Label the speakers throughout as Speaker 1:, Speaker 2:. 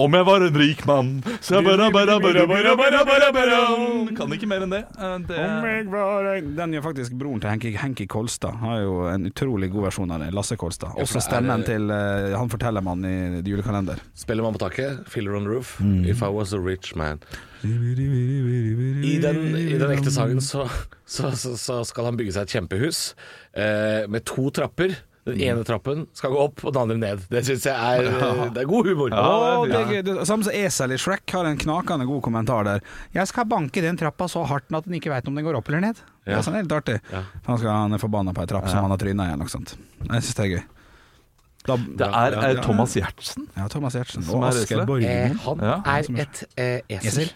Speaker 1: Om jeg var en rik mann Kan ikke mer enn det. Eh,
Speaker 2: Om
Speaker 1: det
Speaker 2: jeg var en- Den gjør faktisk broren til Henki, Henki Kolstad. Har jo en utrolig god versjon av det. Lasse Kolstad. Også stemmen til eh, han fortellermannen i julekalender.
Speaker 3: Spellemann på taket, Filler on the Roof,
Speaker 1: Mm.
Speaker 3: If I Was A Rich Man.
Speaker 1: Mm.
Speaker 3: I den, i den ekte sangen så, så, så, så skal han bygge seg et kjempehus eh, med to trapper.
Speaker 1: Mm.
Speaker 3: Den ene trappen skal gå opp, og den andre ned. Det syns jeg er, eh, det er god humor.
Speaker 2: Å, det er gøy. Det- Samme som Esel i Shrek har en knakende god kommentar der. 'Jeg skal banke den trappa så hardt at den ikke veit om den går opp eller ned'. Det er
Speaker 3: Ja.
Speaker 2: sånn helt artig. Han, skal, han er forbanna på ei trapp som han har tryna i eller noe sånt. Jeg syns det er gøy. Da,
Speaker 1: det er, er Thomas Gjertsen.
Speaker 2: Ja, Thomas Giertsen
Speaker 1: Som
Speaker 2: og
Speaker 1: er
Speaker 2: Asgeir
Speaker 1: Esel.
Speaker 3: Eh,
Speaker 2: Borgermoen.
Speaker 3: han
Speaker 1: Ja,
Speaker 3: er et eh, esel.
Speaker 2: Esel?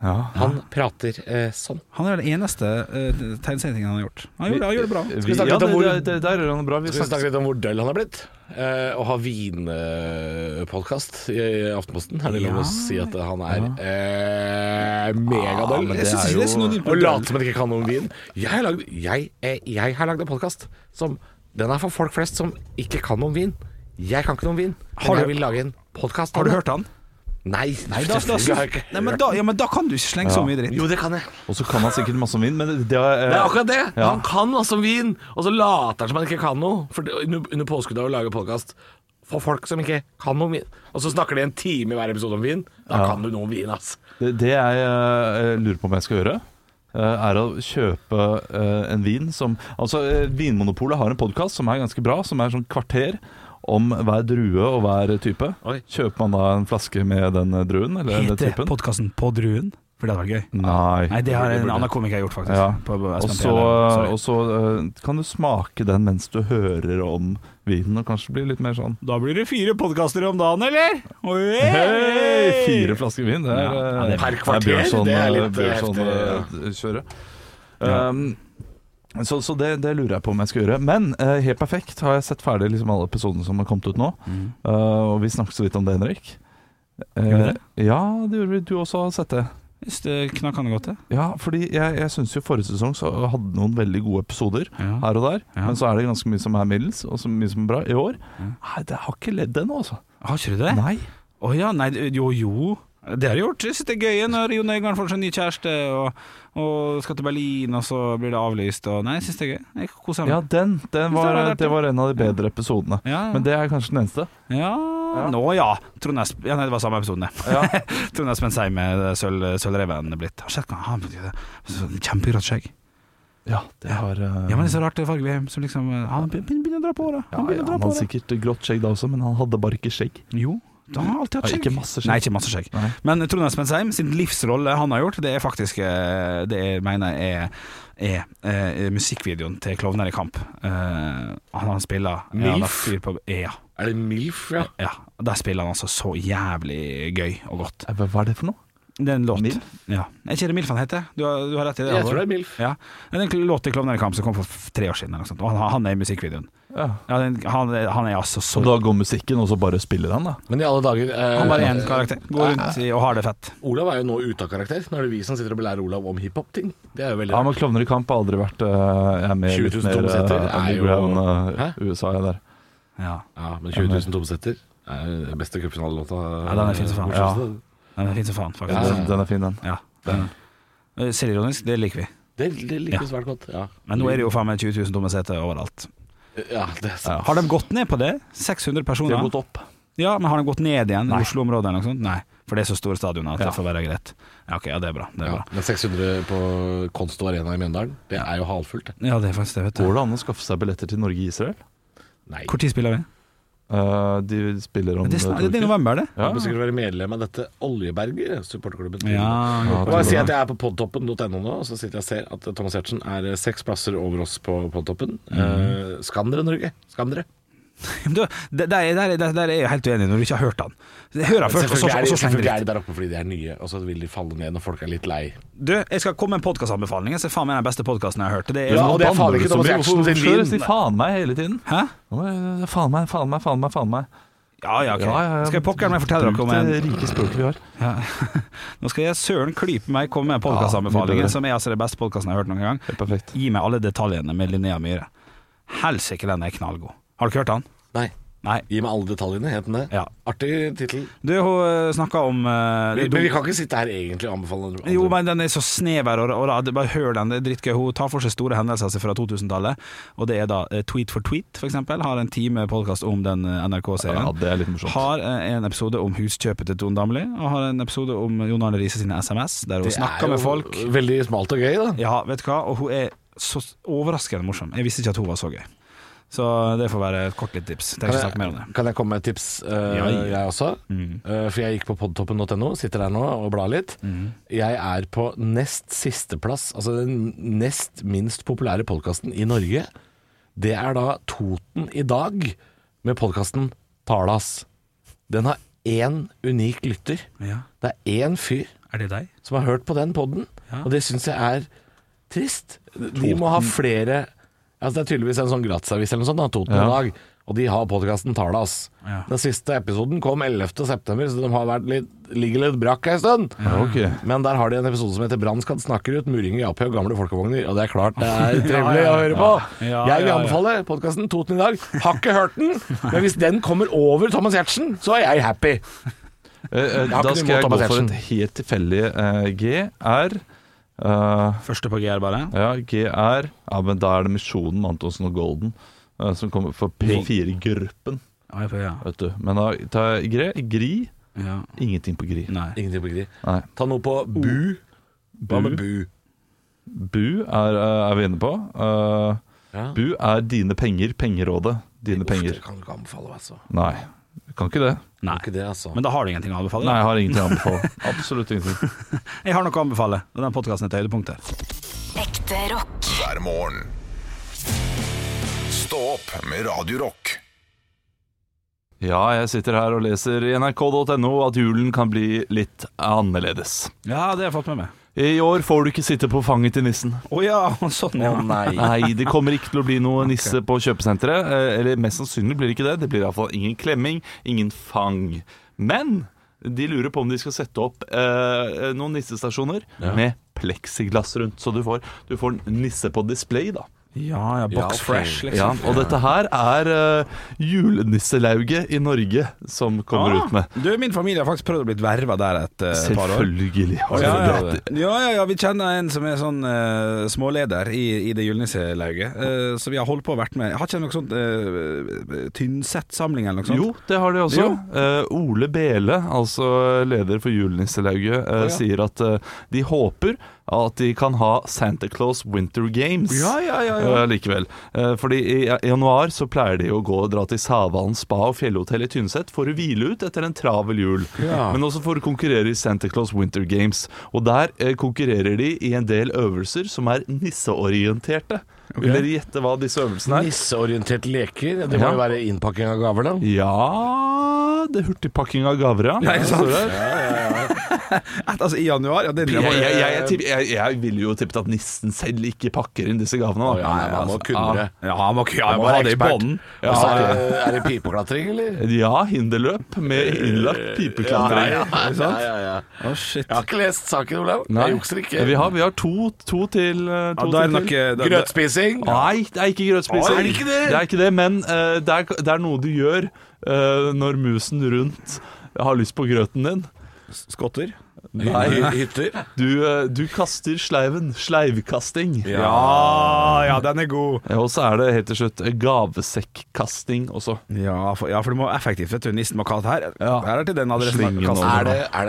Speaker 1: Ja.
Speaker 3: Han prater eh, sånn.
Speaker 2: Han er den eneste uh, tegneserietingen han har gjort. Han gjorde, han gjorde det bra.
Speaker 1: Vi,
Speaker 3: vi snakke
Speaker 1: ja,
Speaker 3: litt om
Speaker 1: det,
Speaker 3: hvor-
Speaker 1: det, det, der gjør han det bra. Vi
Speaker 3: Skal vi snakke
Speaker 1: snakker
Speaker 3: litt om hvor døll han er blitt? Eh, og ha vinpodkast i Aftenposten. Er det lov
Speaker 2: Ja.
Speaker 3: å si at han er eh, megadøll?
Speaker 2: Jeg synes ikke det er synonymt med
Speaker 3: Å
Speaker 2: døll.
Speaker 3: late som man ikke kan noe om vin. Jeg har lagd, jeg, eh, jeg har lagd en podkast som Den er for folk flest som ikke kan noe om vin. Jeg kan ikke noe om vin, men
Speaker 2: Har du-
Speaker 3: jeg vil lage en podkast.
Speaker 2: Har du hørt han?
Speaker 3: Nei.
Speaker 2: Nei, da, da,
Speaker 3: selvfølgelig har jeg ikke
Speaker 2: nei, men
Speaker 3: hørt
Speaker 2: da, ja, men da kan du ikke slenge så mye dritt.
Speaker 3: Jo, det kan jeg.
Speaker 1: Og så kan han sikkert masse om vin, men det eh, er,
Speaker 3: Det er akkurat det!
Speaker 1: Ja.
Speaker 3: Han kan masse om vin, og så later han som han ikke kan noe. For det, under, under påskudd av å lage podkast for folk som ikke kan noe om vin. Og så snakker de en time i hver episode om vin. Da kan du noe om vin, ass.
Speaker 1: Det, det jeg eh, lurer på om jeg skal gjøre, eh, er å kjøpe eh, en vin som Altså, eh, Vinmonopolet har en podkast som er ganske bra, som er sånn kvarter om hver drue og hver type.
Speaker 3: Oi.
Speaker 1: Kjøper man da en flaske med den eh, druen eller den
Speaker 2: Heter
Speaker 1: typen?
Speaker 2: podkasten På druen? For det hadde vært gøy.
Speaker 1: Nei.
Speaker 2: Nei, det har en annen komiker gjort, faktisk.
Speaker 1: Ja.
Speaker 2: På- på
Speaker 1: Og
Speaker 2: SNP,
Speaker 1: så,
Speaker 2: eller- sorry.
Speaker 1: og så eh, kan du smake den mens du hører om vinen, og kanskje bli litt mer sånn
Speaker 2: Da blir det fire podkaster om dagen, eller? Oi!
Speaker 1: Hei! Fire flasker vin, det er,
Speaker 2: Ja,
Speaker 1: eh,
Speaker 3: per kvarter,
Speaker 1: det er Bjørnson,
Speaker 3: det er litt
Speaker 1: Bjørnson
Speaker 3: heftig,
Speaker 1: eh, kjøret. Um, så, så det, det lurer jeg på om jeg skal gjøre. Men eh, helt perfekt har jeg sett ferdig liksom alle episodene som har kommet ut nå. Eh, og vi snakket så vidt om det, Henrik. Eh,
Speaker 2: Mm. Gjorde vi det?
Speaker 1: ja, det gjorde vi. Du også har sett det.
Speaker 2: Hvis det knakk han godt, det.
Speaker 1: Ja, fordi jeg, jeg syns jo forrige sesong så hadde noen veldig gode episoder
Speaker 2: Ja.
Speaker 1: her og der.
Speaker 2: Ja.
Speaker 1: Men så er det ganske mye som er middels, og så mye som er bra. I år Nei, det har ikke ledd ennå, altså.
Speaker 2: Har ikke du det?
Speaker 1: Nei.
Speaker 2: Å ja, nei, jo jo. Det har jeg gjort. Jeg synes det er gøy når Jon Øigarden får seg ny kjæreste og, og skal til Berlin, og så blir det avlyst. Og, nei, jeg synes det er gøy. Jeg koser meg.
Speaker 1: Ja, den, den var,
Speaker 2: var
Speaker 1: det var en av de bedre episodene.
Speaker 2: Ja, ja.
Speaker 1: Men det er kanskje den eneste.
Speaker 2: Ja, Nå ja. Trond Esp... Ja, nei, det var samme episoden, det. Trond Espen Seim er sølv, sølvreven blitt. Har du sett hva han har? Kjempegrått skjegg.
Speaker 1: Ja, det har eh,
Speaker 2: Ja, men det er så rart det er farge-VM som liksom Han begynner begynner å dra på håret. Han begynner å dra
Speaker 1: Han
Speaker 2: på
Speaker 1: hadde
Speaker 2: håret.
Speaker 1: sikkert grått skjegg da også, men han hadde bare ikke skjegg.
Speaker 2: Jo, da har han alltid hatt
Speaker 1: Ja,
Speaker 2: skjegg.
Speaker 1: ikke masse skjegg.
Speaker 2: Nei, ikke masse skjegg.
Speaker 1: Nei.
Speaker 2: Men Trond Espen Seim sin livsrolle han har gjort, det er faktisk eh, Det jeg mener er, er, eh, musikkvideoen til Klovner i kamp. Eh, han, han spiller ja, han er
Speaker 3: Milf?
Speaker 2: fyr på, ja,
Speaker 3: Er det MILF, ja?
Speaker 2: ja. Der spiller han altså så jævlig gøy og godt.
Speaker 1: Eh, Hva er det for noe?
Speaker 2: Det er en låt.
Speaker 1: Milf?
Speaker 2: Ja. Er ikke det Milf han heter? Du har, du har rett i det.
Speaker 3: Jeg
Speaker 2: Halvor.
Speaker 3: tror det er MILF.
Speaker 2: Ja. Det er en låt til Klovner i kamp som kom for f- tre år siden, eller noe sånt. og han, han er i musikkvideoen.
Speaker 1: Ja.
Speaker 2: Ja, den, han, er- han er altså så
Speaker 1: Så da går musikken, og så bare spiller han, da?
Speaker 3: Men i alle dager eh,
Speaker 2: Han bare én karakter. Går rundt i, og har det fett.
Speaker 3: Olav er jo nå ute av karakter. Nå er det vi som sitter og belærer Olav om hiphop-ting. Det er jo veldig
Speaker 1: Ja,
Speaker 3: rart.
Speaker 1: men Klovner i kamp har aldri vært eh, Jeg er med
Speaker 3: 20
Speaker 1: litt
Speaker 3: 000
Speaker 1: mer
Speaker 3: tomsetter
Speaker 1: eh,
Speaker 3: er jo-
Speaker 1: underground eh,
Speaker 3: Hæ?
Speaker 1: USA jeg der.
Speaker 2: Ja.
Speaker 3: Ja, men 20 000 tomsetter er jo den beste cupfinalelåta.
Speaker 2: Ja, den er fin som faen.
Speaker 1: Ja.
Speaker 2: Den er fin som faen, faktisk.
Speaker 1: Den, den er fin, den.
Speaker 2: Ja. Den- Eh, Selvironisk, det liker vi.
Speaker 3: Det, det
Speaker 2: Ja.
Speaker 3: liker vi svært godt. Ja,
Speaker 2: Men nå er det jo faen meg 20 000 tomme seter overalt.
Speaker 3: ja det er sant.
Speaker 2: Har de gått ned på det? 600
Speaker 1: De
Speaker 2: personer?
Speaker 1: har gått opp.
Speaker 2: Ja, men har de gått ned igjen i Oslo-området eller noe sånt? Nei, for det er så store stadioner at det får være greit. Ja, ok, ja, det er bra. Det er
Speaker 3: Ja,
Speaker 2: bra.
Speaker 3: men 600 på Konsto Arena i Mjøndalen, det er jo halvfullt. det.
Speaker 2: Ja, det er faktisk det, vet
Speaker 1: Går
Speaker 2: du.
Speaker 1: det an å skaffe seg billetter til Norge og Israel?
Speaker 3: Nei.
Speaker 2: Hvor tid spiller vi?
Speaker 1: Eh, de spiller om
Speaker 2: Det er,
Speaker 1: eh,
Speaker 2: snart,
Speaker 1: to
Speaker 2: det er i
Speaker 1: uker.
Speaker 2: november, det.
Speaker 3: Jeg bør sikkert være medlem av dette Oljeberget, supporterklubben.
Speaker 2: Ja,
Speaker 1: Ja,
Speaker 3: Bare si
Speaker 1: tror
Speaker 3: at
Speaker 1: det.
Speaker 3: jeg er på podtoppen.no nå, og så sitter jeg og ser at Thomas Giertsen er eh, seks plasser over oss på podtoppen. Eh,
Speaker 2: Mhm.
Speaker 3: skam dere, Norge. Skam dere.
Speaker 2: Men du, det- der, er- der, er- der, der er jeg helt uenig når du ikke har hørt han. Hør han først, og så, og så
Speaker 3: Selvfølgelig er, de,
Speaker 2: slenger
Speaker 3: selvfølgelig
Speaker 2: dritt.
Speaker 3: er de der oppe fordi de er nye, og så vil de falle ned når folk er litt lei.
Speaker 2: Du, jeg skal komme med en podkastanbefaling. Jeg ser faen meg den beste podkasten jeg har hørt. Det er,
Speaker 3: Ja, og det er faen
Speaker 1: Banner
Speaker 3: ikke
Speaker 1: du så
Speaker 3: Thomas
Speaker 1: mye?
Speaker 3: Giertsen
Speaker 1: Hvorfor
Speaker 3: sin
Speaker 1: hvorfor
Speaker 3: vin.
Speaker 1: sier eh, faen meg hele tiden?
Speaker 2: Hæ?
Speaker 1: Nå er det- Faen meg, faen meg, faen meg. faen meg
Speaker 2: Ja, ja,
Speaker 1: Ja,
Speaker 2: ok.
Speaker 1: ja, ja.
Speaker 2: Skal jeg pokker meg fortelle dere
Speaker 1: Bruk
Speaker 2: om en
Speaker 1: det rike språket vi har.
Speaker 2: ja. Nå skal jeg søren klype meg komme med
Speaker 1: Ja, nydelig.
Speaker 2: podkastanbefalinger, som er altså det beste podkasten jeg har hørt noen gang.
Speaker 1: Det er perfekt.
Speaker 2: Gi meg alle detaljene med Linnea Myhre. Helsike, den er knallgod. Har dere hørt han?
Speaker 3: Nei.
Speaker 2: Nei.
Speaker 3: Gi meg alle detaljene, het den det.
Speaker 2: Ja.
Speaker 3: Artig tittel.
Speaker 2: Du, hun snakka om eh,
Speaker 3: Men,
Speaker 2: det-
Speaker 3: men vi kan ikke sitte her egentlig og anbefale andre.
Speaker 2: Jo, men den er så snever, og, og da- bare hør den, det er drittgøy. Hun tar for seg store hendelser fra 2000-tallet, og det er da eh, Tweet for tweet, for eksempel. Har en time podkast om den eh, NRK-serien.
Speaker 1: Ja, det er litt morsomt.
Speaker 2: Har eh, en episode om huskjøpet til Tone Damli, og har en episode om Jon Arne Riise sine SMS, der hun
Speaker 3: Det er
Speaker 2: snakker
Speaker 3: jo
Speaker 2: med folk.
Speaker 3: Veldig smalt og gøy, da.
Speaker 2: Ja, vet du hva, og hun er så s- overraskende morsom. Jeg visste ikke at hun var så gøy. Så eh, det får være et kort litt tips. Trenger ikke snakke mer om det.
Speaker 3: kan jeg komme med et tips, eh,
Speaker 2: Ja, Mm. ja.
Speaker 3: jeg også? Eh, for jeg gikk på podtoppen.no, sitter der nå og blar litt.
Speaker 2: Mm.
Speaker 3: Jeg er på nest sisteplass, altså den nest minst populære podkasten i Norge. Det er da Toten i dag, med podkasten Talas. Den har én unik lytter.
Speaker 2: Ja.
Speaker 3: Det er én fyr
Speaker 2: Er det deg?
Speaker 3: som har hørt på den podden,
Speaker 2: Ja.
Speaker 3: og det syns jeg er trist. De må ha flere altså Det er tydeligvis en sånn gratisavis eller noe sånt, da, Toten i
Speaker 1: Ja.
Speaker 3: dag, og de har podkasten Talas.
Speaker 2: Ja.
Speaker 3: Den siste episoden kom 11.9, så de har vært litt, ligger litt brakk ei stund.
Speaker 1: Ja, ok. Eh,
Speaker 3: Men der har de en episode som heter 'Brannskadd snakker ut muringer, JP og gamle folkevogner'. Og det er klart det er
Speaker 2: Ja,
Speaker 3: trivelig
Speaker 2: ja,
Speaker 3: å høre på.
Speaker 2: Ja,
Speaker 3: jeg
Speaker 2: ja,
Speaker 3: vil
Speaker 2: ja.
Speaker 3: anbefale podkasten Toten i dag. Har ikke hørt den, men hvis den kommer over Thomas Giertsen, så er jeg happy.
Speaker 1: Eh, eh,
Speaker 3: har
Speaker 1: Da
Speaker 3: ikke noe
Speaker 1: skal jeg
Speaker 3: imot
Speaker 1: gå
Speaker 3: Thomas
Speaker 1: for
Speaker 3: Giertsen.
Speaker 1: et helt tilfeldig eh, G. R. Eh,
Speaker 2: Første på GR, bare.
Speaker 1: ja, G er Ja, men da er det Misjonen, Antonsen og Golden. eh, Som kommer for P4-gruppen,
Speaker 2: Ja, jeg får- ja.
Speaker 1: vet du. Men da tar jeg Gre. Gri.
Speaker 2: ja.
Speaker 1: Ingenting på Gri.
Speaker 2: Nei.
Speaker 3: Ingenting på gri.
Speaker 1: Nei.
Speaker 3: Ta noe på Bu. Hva med Bu?
Speaker 1: Bu er, eh, er vi inne på. Eh,
Speaker 3: Ja.
Speaker 1: Bu er dine penger, Pengerådet. Dine penger.
Speaker 3: Uff, det kan du ikke anbefale, altså.
Speaker 1: Nei, kan ikke det.
Speaker 2: Nei.
Speaker 3: Ikke det, altså.
Speaker 2: Men da har du ingenting å anbefale? da.
Speaker 1: Nei, jeg har ingenting å anbefale. Absolutt ingenting.
Speaker 2: Jeg har noe å anbefale. og Den podkasten er et høydepunkt her.
Speaker 4: Ekte rock.
Speaker 5: hver morgen. Stå opp med Radio Rock.
Speaker 1: Ja, jeg sitter her og leser i nrk.no at julen kan bli litt annerledes.
Speaker 2: Ja, det har jeg fått med meg.
Speaker 1: I år får du ikke sitte på fanget til nissen.
Speaker 2: Å ja, sånn ja.
Speaker 3: nei.
Speaker 1: Nei, det kommer ikke til å bli noe nisse på kjøpesenteret. eh, Eller mest sannsynlig blir det ikke det. Det blir iallfall ingen klemming, ingen fang. Men de lurer på om de skal sette opp eh, noen nissestasjoner med pleksiglass rundt. Så du får, du får en nisse på display, da.
Speaker 2: Ja, ja,
Speaker 3: Ja,
Speaker 2: box
Speaker 3: ok.
Speaker 2: fresh,
Speaker 1: Ja,
Speaker 2: liksom.
Speaker 1: og dette her er uh, julenisselauget i Norge som kommer ut med.
Speaker 2: Ah, du, min familie har faktisk prøvd å bli verva der et eh, par år.
Speaker 1: Selvfølgelig. har
Speaker 2: Ja
Speaker 1: dere
Speaker 2: ja.
Speaker 1: det.
Speaker 2: ja, ja, ja, vi kjenner en som er sånn eh, småleder i, i det julenisselauget. Eh, så vi har holdt på å vært med. Har ikke dere noe sånt uh, Tynset-samling eller noe sånt?
Speaker 1: Jo, det har de også.
Speaker 2: Jo.
Speaker 1: Eh, Ole Bele, altså leder for Julenisselauget, eh,
Speaker 2: ja.
Speaker 1: sier at eh, de håper at de kan ha Santa Claus Winter Games.
Speaker 2: Ja, ja, ja, ja.
Speaker 1: eh, likevel. Eh, fordi i i januar så pleier de å gå og dra til Savalen spa og fjellhotell i Tynset for å hvile ut etter en travel jul.
Speaker 3: Ja.
Speaker 1: Men også for å konkurrere i Santa Claus Winter Games. Og der eh, konkurrerer de i en del øvelser som er nisseorienterte. Vil dere gjette hva disse øvelsene er?
Speaker 3: Nisseorienterte leker. Det må
Speaker 1: Ja.
Speaker 3: jo være innpakking av gaver, da.
Speaker 1: Ja Det er hurtigpakking av gaver, ja.
Speaker 2: Nei, sant?
Speaker 1: Står det.
Speaker 2: Altså, i januar? Ja, det
Speaker 1: Jeg, jeg, jeg, jeg, tipp- jeg, jeg ville jo tippet at nissen selv ikke pakker inn disse gavene. da.
Speaker 3: Å, ja, nei, man
Speaker 1: altså,
Speaker 3: må kunne det.
Speaker 2: Ja, han må, ja,
Speaker 3: Han
Speaker 2: han
Speaker 3: må
Speaker 2: må ha
Speaker 3: være
Speaker 2: det i
Speaker 3: ekspert.
Speaker 2: bånden.
Speaker 1: Ja,
Speaker 3: Altså,
Speaker 1: ja,
Speaker 3: er det- er det pipeklatring, eller?
Speaker 1: ja, hinderløp med innlagt pipeklatring.
Speaker 3: ja, ja, ja, ja.
Speaker 2: Å, shit.
Speaker 3: Jeg har ikke lest saken, Olav.
Speaker 1: Nei.
Speaker 3: Jeg jukser ikke.
Speaker 1: Vi har, vi har to, to til. eh, To
Speaker 2: Ja, da er det
Speaker 1: til.
Speaker 2: nok eh, da- da-
Speaker 3: Grøtspising.
Speaker 1: Nei, det er ikke grøtspising.
Speaker 3: Å, er det ikke det?
Speaker 1: er ikke det, men eh, det, er, det er noe du gjør eh, når musen rundt har lyst på grøten din.
Speaker 2: Skotter?
Speaker 3: Hy- Hytter.
Speaker 1: Du, eh, du kaster sleiven. Sleivkasting.
Speaker 2: Ja, ja, den er god.
Speaker 1: Eh, Og så er det helt til slutt eh, gavesekkasting også.
Speaker 2: Ja, for, ja, for det må være effektivt. Vet du. Nissen må kaste her.
Speaker 1: Ja.
Speaker 2: Her er til den adressen.
Speaker 1: Slingen
Speaker 2: Kaste.
Speaker 1: over.
Speaker 3: Er det, er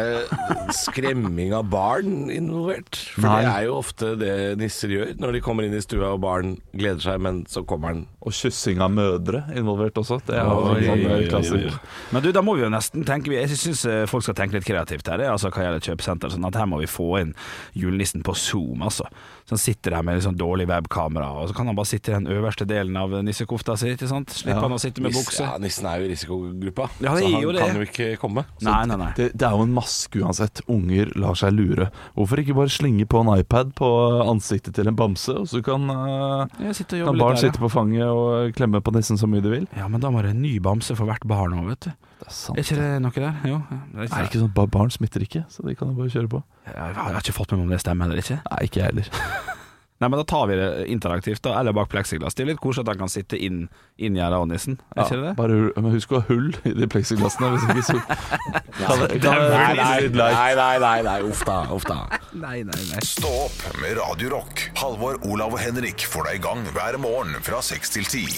Speaker 3: det skremming av barn involvert? For
Speaker 1: Nei.
Speaker 3: det er jo ofte det nisser gjør når de kommer inn i stua og barn gleder seg, men så kommer han
Speaker 1: Og kyssing av mødre involvert også. Det er jo
Speaker 2: Oi,
Speaker 1: en sånn
Speaker 2: oi,
Speaker 1: eh,
Speaker 2: oi,
Speaker 1: klassiker.
Speaker 2: oi. Men du, da må vi jo nesten tenke Jeg syns eh, folk skal tenke litt kreativt her, det er altså hva gjelder kjøpesenter. Sånn at her må vi få inn julenissen på Zoom, altså. Så han sitter der med litt sånn dårlig webkamera, og så kan han bare sitte i den øverste delen av nissekofta si, ikke sant? Slipper han å sitte med
Speaker 3: Nis-
Speaker 2: bukse.
Speaker 3: Ja, nissen er jo i risikogruppa,
Speaker 2: Ja, det
Speaker 3: så
Speaker 2: er
Speaker 3: han
Speaker 2: jo det.
Speaker 3: kan jo ikke komme. Så
Speaker 2: Nei, nei, nei.
Speaker 1: Det, det er jo en maske uansett. Unger lar seg lure. Hvorfor ikke bare slenge på en iPad på ansiktet til en bamse, og så kan, eh,
Speaker 2: Jeg
Speaker 1: kan
Speaker 2: sitter og jobber
Speaker 1: barn
Speaker 2: litt der,
Speaker 1: sitte på fanget og eh, klemme på nissen så mye de vil?
Speaker 2: ja. ja, men da må det en ny bamse for hvert barn òg, vet du.
Speaker 1: Det er sant.
Speaker 2: Er ikke det noe der? Jo. ja,
Speaker 1: Er
Speaker 2: Det
Speaker 1: det
Speaker 2: er ikke,
Speaker 1: ikke sånn at barn smitter ikke, så de kan jo bare kjøre på?
Speaker 2: jeg har ikke fått med meg om det stemmer eller ikke.
Speaker 1: Nei, ikke jeg heller.
Speaker 2: Nei, men da tar vi det interaktivt, da. Eller bak pleksiglass. Det er litt koselig at han kan sitte inn inngjerda og nissen, er ikke det det?
Speaker 1: Bare hu- men husk å ha hull i de pleksiglassene, hvis ikke så Kan det- kan det-
Speaker 3: Nei, nei, nei, nei, nei, nei, uff da, uff da.
Speaker 2: Nei, nei, nei.
Speaker 5: Stå opp med Radio Rock. Halvor, Olav og Henrik får deg i gang hver morgen fra 6 til 10.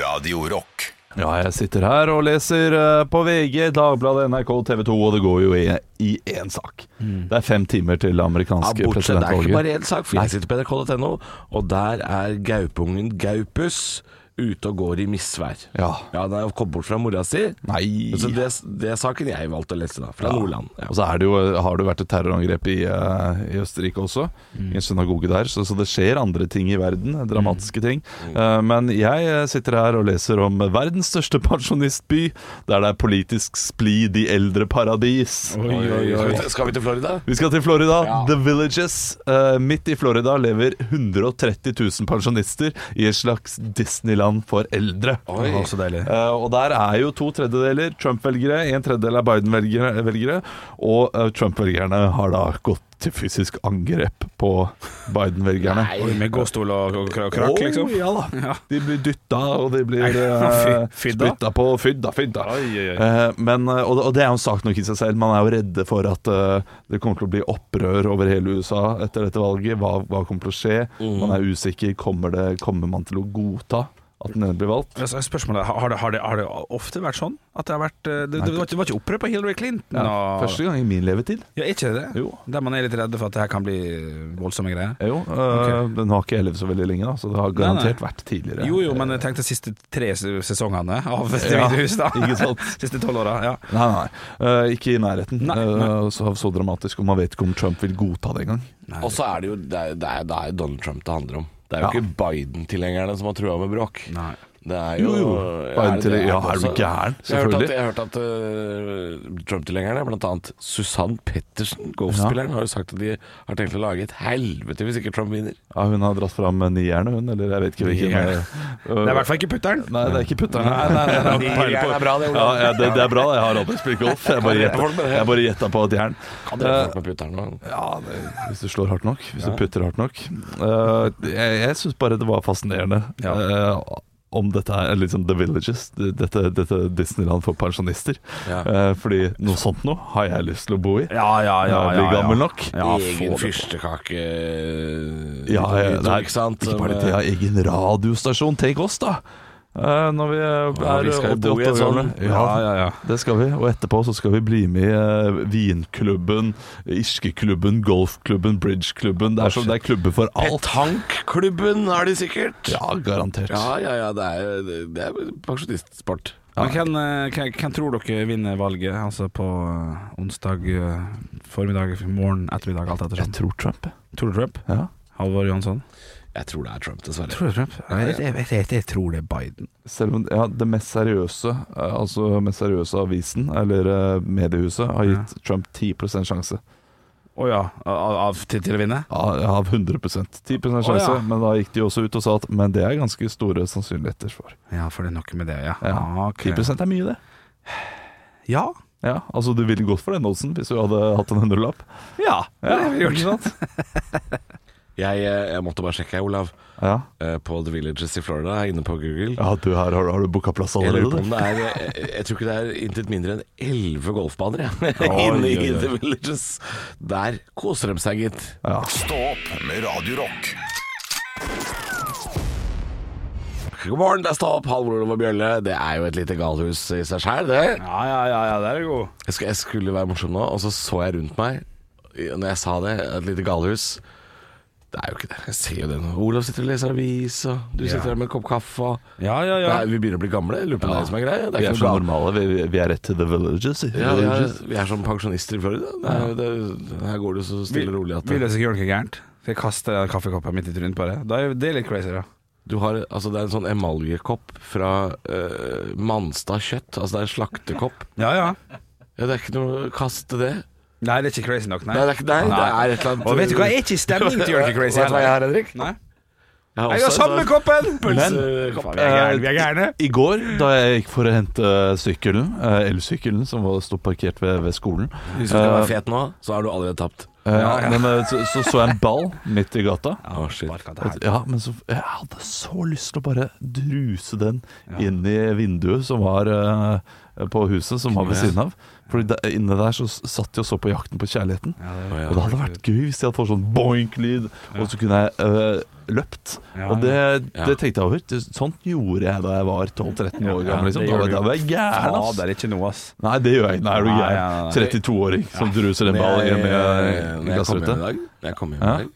Speaker 5: Radio Rock.
Speaker 1: Ja, jeg sitter her og leser eh, på VG, Dagbladet, NRK, TV 2, og det går jo i, i én sak. Det er fem timer til det
Speaker 3: Mm. Ja,
Speaker 1: amerikanske
Speaker 3: bortsett, det er ikke
Speaker 1: presidentvalget.
Speaker 3: bare én sak. For jeg sitter på nrk.no, og der er gaupungen Gaupus ute og går i misvær.
Speaker 1: Ja.
Speaker 3: Ja, Den er kommet bort fra mora si.
Speaker 1: Nei.
Speaker 3: Så Altså, det, det er saken jeg valgte å lese, da. Fra Nordland. Ja.
Speaker 1: Og så er det jo, eh, har det jo vært et terrorangrep i, eh, i Østerrike også,
Speaker 3: Mm.
Speaker 1: i en synagoge der. Så, så det skjer andre ting i verden,
Speaker 3: Mm.
Speaker 1: dramatiske ting. Eh, men jeg eh, sitter her og leser om verdens største pensjonistby, der det er politisk splid i eldreparadis.
Speaker 3: Skal vi til- Skal vi til Florida?
Speaker 1: Vi skal til Florida. The Villages. Eh, midt i Florida lever 130 000 pensjonister i et slags Disneyland for eldre.
Speaker 2: Det var også deilig.
Speaker 1: Eh, og der er jo to tredjedeler Trump-velgere, en tredjedel er Biden-velgere, velgere, og eh, Trump-velgerne har da gått til fysisk angrep på Biden-velgerne.
Speaker 2: Oi, med gåstol og, og kra-
Speaker 1: Å,
Speaker 2: krakk, liksom.
Speaker 1: Ja da. De blir dytta, og de blir
Speaker 2: Fy-
Speaker 1: uh,
Speaker 2: fydda?
Speaker 1: spytta på. Fydda, fydda. Eh, men, eh, og, det- og det er jo en sak nok i seg selv. Man er jo redde for at eh, det kommer til å bli opprør over hele USA etter dette valget. Hva, hva kommer til å skje?
Speaker 2: Mm.
Speaker 1: Man er usikker. Kommer, det, kommer man til å godta at den ene blir valgt?
Speaker 2: Ja, så er Spørsmålet har det, har, det, har det ofte vært sånn? At det har vært eh, Det, det, var, ikke- det var ikke opprør på Hillary Clinton? og-
Speaker 1: Første gang i min levetid.
Speaker 2: Ja, er ikke det det?
Speaker 1: Jo.
Speaker 2: Der man er litt redde for at det her kan bli voldsomme greier?
Speaker 1: Eh, Jo, eh, Nå har ikke jeg levd så veldig lenge, da, så det har
Speaker 2: Nei, nei.
Speaker 1: garantert vært tidligere.
Speaker 2: Jo jo, men jeg tenkte siste tre se- sesongene av Det
Speaker 1: Ja,
Speaker 2: hvite hus, da.
Speaker 1: ikke sant.
Speaker 2: Siste tolv åra. Ja.
Speaker 1: Nei, nei, nei. Eh, ikke i nærheten.
Speaker 2: Nei, nei.
Speaker 1: Eh, så, så dramatisk, og man vet ikke om Trump vil godta det engang.
Speaker 3: Og så er det jo det er, det er, det er Donald Trump det handler om. Det er jo
Speaker 1: Ja.
Speaker 3: ikke Biden-tilhengerne som har trua med bråk.
Speaker 2: Nei.
Speaker 3: Det er jo,
Speaker 1: Jo, jo. Biden-tilhenger- ja, er du
Speaker 3: også-
Speaker 1: gæren?
Speaker 3: Jeg har hørt at,
Speaker 1: Selvfølgelig.
Speaker 3: jeg har hørt at øh, Trump-tilhengerne, blant annet Susann Pettersen, golfspilleren, har jo sagt at de har tenkt å lage et helvete hvis ikke Trump vinner.
Speaker 1: Ja, hun har dratt fram nierne, hun, eller jeg vet ikke hvilken.
Speaker 2: Nieren.
Speaker 1: eh,
Speaker 2: Det er i hvert fall ikke putteren.
Speaker 1: Nei, det er ikke putterne. Nei, nei, nei, nei,
Speaker 3: Nieren
Speaker 1: peiler på-
Speaker 3: er bra, det, Olav.
Speaker 1: ja, ja, det, det er bra. Jeg har aldri spilt golf. Jeg bare
Speaker 3: drepe folk med
Speaker 1: gjetta-
Speaker 3: det.
Speaker 1: jeg bare gjetta på et jern.
Speaker 3: Kan dere få opp med putteren nå?
Speaker 1: Eh, Ja, det, hvis du slår hardt nok. Hvis du putter hardt nok. Eh, jeg jeg syns bare det var fascinerende. eh, om dette er liksom The Villages, dette, dette Disneyland for pensjonister.
Speaker 3: Ja.
Speaker 1: Eh, fordi noe sånt nå har jeg lyst til å bo i.
Speaker 2: Ja, ja, ja.
Speaker 1: Når jeg blir
Speaker 2: ja, ja.
Speaker 1: gammel nok.
Speaker 2: Ja, få
Speaker 3: Egen
Speaker 2: det.
Speaker 3: fyrstekake
Speaker 1: Ja, ja,
Speaker 3: utog,
Speaker 1: det er,
Speaker 3: ikke sant? eh,
Speaker 1: Ikke bare
Speaker 3: Med-
Speaker 1: det, ja, egen radiostasjon. Tenk oss, da! Eh, når vi eh,
Speaker 3: Ja,
Speaker 1: er
Speaker 3: vi skal jo bo
Speaker 1: 88
Speaker 3: i
Speaker 1: år
Speaker 3: en sånn-
Speaker 1: gamle.
Speaker 2: Ja, ja, ja.
Speaker 1: Det skal vi, og etterpå så skal vi bli med i eh, vinklubben, irskeklubben, golfklubben, bridgeklubben. Det er, som, det er klubber for alt.
Speaker 3: Petankklubben har de sikkert.
Speaker 1: Ja, garantert.
Speaker 3: Ja, ja, ja, det er, det- det er pensjonistsport.
Speaker 2: Men hvem, eh, hvem, hvem tror dere vinner valget? Altså på eh, onsdag eh, formiddag, morgen, ettermiddag, alt etter
Speaker 1: Jeg
Speaker 2: sånn.
Speaker 1: tror Trump, jeg.
Speaker 2: Tror du Trump?
Speaker 1: Ja.
Speaker 2: Halvor Johansson?
Speaker 3: Jeg tror det er Trump, dessverre.
Speaker 2: Tror du Trump? Jeg, jeg, jeg, jeg tror det er Biden.
Speaker 1: Selv om ja, det mest seriøse, eh, altså mest seriøse avisen, eller eh, mediehuset, har gitt Trump 10 sjanse.
Speaker 2: Å ja, av, av til, til å vinne?
Speaker 1: Av av 100 10 sjanse,
Speaker 2: Å, ja.
Speaker 1: men da gikk de også ut og sa at Men det er ganske store sannsynligheter for.
Speaker 2: Ja, for det er noe med det, ja.
Speaker 1: Ja.
Speaker 2: Ah, ok.
Speaker 1: 10 er mye, det.
Speaker 2: Ja.
Speaker 1: Ja, altså Du ville gått for den oddsen hvis du hadde hatt en hundrelapp?
Speaker 2: Ja, det har vi
Speaker 1: ikke
Speaker 2: gjort.
Speaker 1: sant?
Speaker 3: Jeg, eh, jeg måtte bare sjekke, Olav.
Speaker 1: Ja.
Speaker 3: eh, På The Villages i Florida, jeg er inne på Google.
Speaker 1: Ja, du, her har, har du booka plass
Speaker 3: Jeg lurer på
Speaker 1: allerede?
Speaker 3: om
Speaker 1: du.
Speaker 3: det er Jeg, jeg tror ikke det er intet mindre enn elleve golfbaner jeg. inne
Speaker 2: Oi,
Speaker 3: i
Speaker 2: oi, oi.
Speaker 3: The Villages. Der koser de seg, gitt.
Speaker 1: Ja.
Speaker 5: Stå opp med Radio Rock.
Speaker 3: God morgen, det er Stå opp, Halvor Olav og Bjølle. Det er jo et lite galhus i seg sjæl, det.
Speaker 2: Ja, ja, ja, ja, der er du god.
Speaker 3: Jeg, skal, jeg skulle være morsom nå, og så så jeg rundt meg i- når jeg sa det. Et lite galhus. Det er jo ikke det. Jeg ser jo det nå. Olav sitter og leser avis, og du
Speaker 2: Ja.
Speaker 3: sitter der med en kopp kaffe. Og...
Speaker 2: Ja, ja, ja.
Speaker 3: Nei, vi begynner å bli gamle. Jeg Lurer på om det er det som er greia. Det
Speaker 1: Vi
Speaker 3: er
Speaker 1: er
Speaker 3: ikke
Speaker 1: så
Speaker 3: noe galt.
Speaker 1: normale. Vi, vi er rett til the villages. i
Speaker 3: Ja, vi er,
Speaker 1: villages.
Speaker 3: vi er som pensjonister i Florida. Det er, det, her går det så stille og rolig at
Speaker 2: Vil dere ikke gjøre noe gærent? Skal jeg kaste kaffekoppen midt i trynet på det? Da er det litt crazy, da.
Speaker 3: Du har, altså Det er en sånn emaljekopp fra eh, Manstad kjøtt. Altså det er en slaktekopp.
Speaker 2: Ja, ja.
Speaker 3: Ja, det er ikke noe Kaste det.
Speaker 2: Nei, det er ikke crazy nok, nei.
Speaker 3: Nei, det er, ikke, nei, det er et eller annet
Speaker 2: Og vet du hva, jeg er ikke i stemning til å gjøre noe crazy.
Speaker 3: Vet du hva jeg har, Henrik?
Speaker 2: Nei.
Speaker 3: Jeg har
Speaker 2: Jeg har
Speaker 3: også en
Speaker 2: samme
Speaker 3: sånn
Speaker 2: koppen!
Speaker 3: pølsekopp.
Speaker 2: Vi er gærne, vi er gærne.
Speaker 1: I går, da jeg gikk for å hente sykkelen, eh, elsykkelen som var stod parkert ved, ved skolen
Speaker 3: Hvis du Eh, skal være fet nå, så har du allerede tapt.
Speaker 1: eh, Men, eh, så, så så jeg en ball midt i gata.
Speaker 3: Å, shit.
Speaker 2: Sparka til helvete.
Speaker 1: Ja, men så, jeg hadde så lyst til å bare druse den inn i vinduet som var eh, på huset, som var ved siden av. For inne der så s- satt de og så på Jakten på kjærligheten.
Speaker 3: Å, ja.
Speaker 1: Og det hadde vært gøy hvis de hadde fått sånn boink-lyd, og så kunne jeg eh, løpt.
Speaker 2: Ja,
Speaker 1: Og det,
Speaker 3: ja.
Speaker 1: det tenkte jeg over. Det- Sånt gjorde jeg da jeg var 12-13 år
Speaker 2: Ja,
Speaker 1: gammel.
Speaker 2: det
Speaker 1: Liksom.
Speaker 2: gjør
Speaker 1: Da, var-
Speaker 2: du.
Speaker 1: da var jeg gæren,
Speaker 2: Ja,
Speaker 1: ass.
Speaker 2: det er ikke noe, ass.
Speaker 1: Nei, det gjør jeg ikke. Nei, er du
Speaker 2: Nei, nei, nei.
Speaker 1: gæren? 32-åring som druser en ball
Speaker 3: Når jeg-
Speaker 1: hjemme i
Speaker 3: Når
Speaker 1: i
Speaker 3: jeg kommer hjem i
Speaker 1: glassruta.
Speaker 3: dag, når jeg kommer hjem
Speaker 1: Ja.
Speaker 3: i dag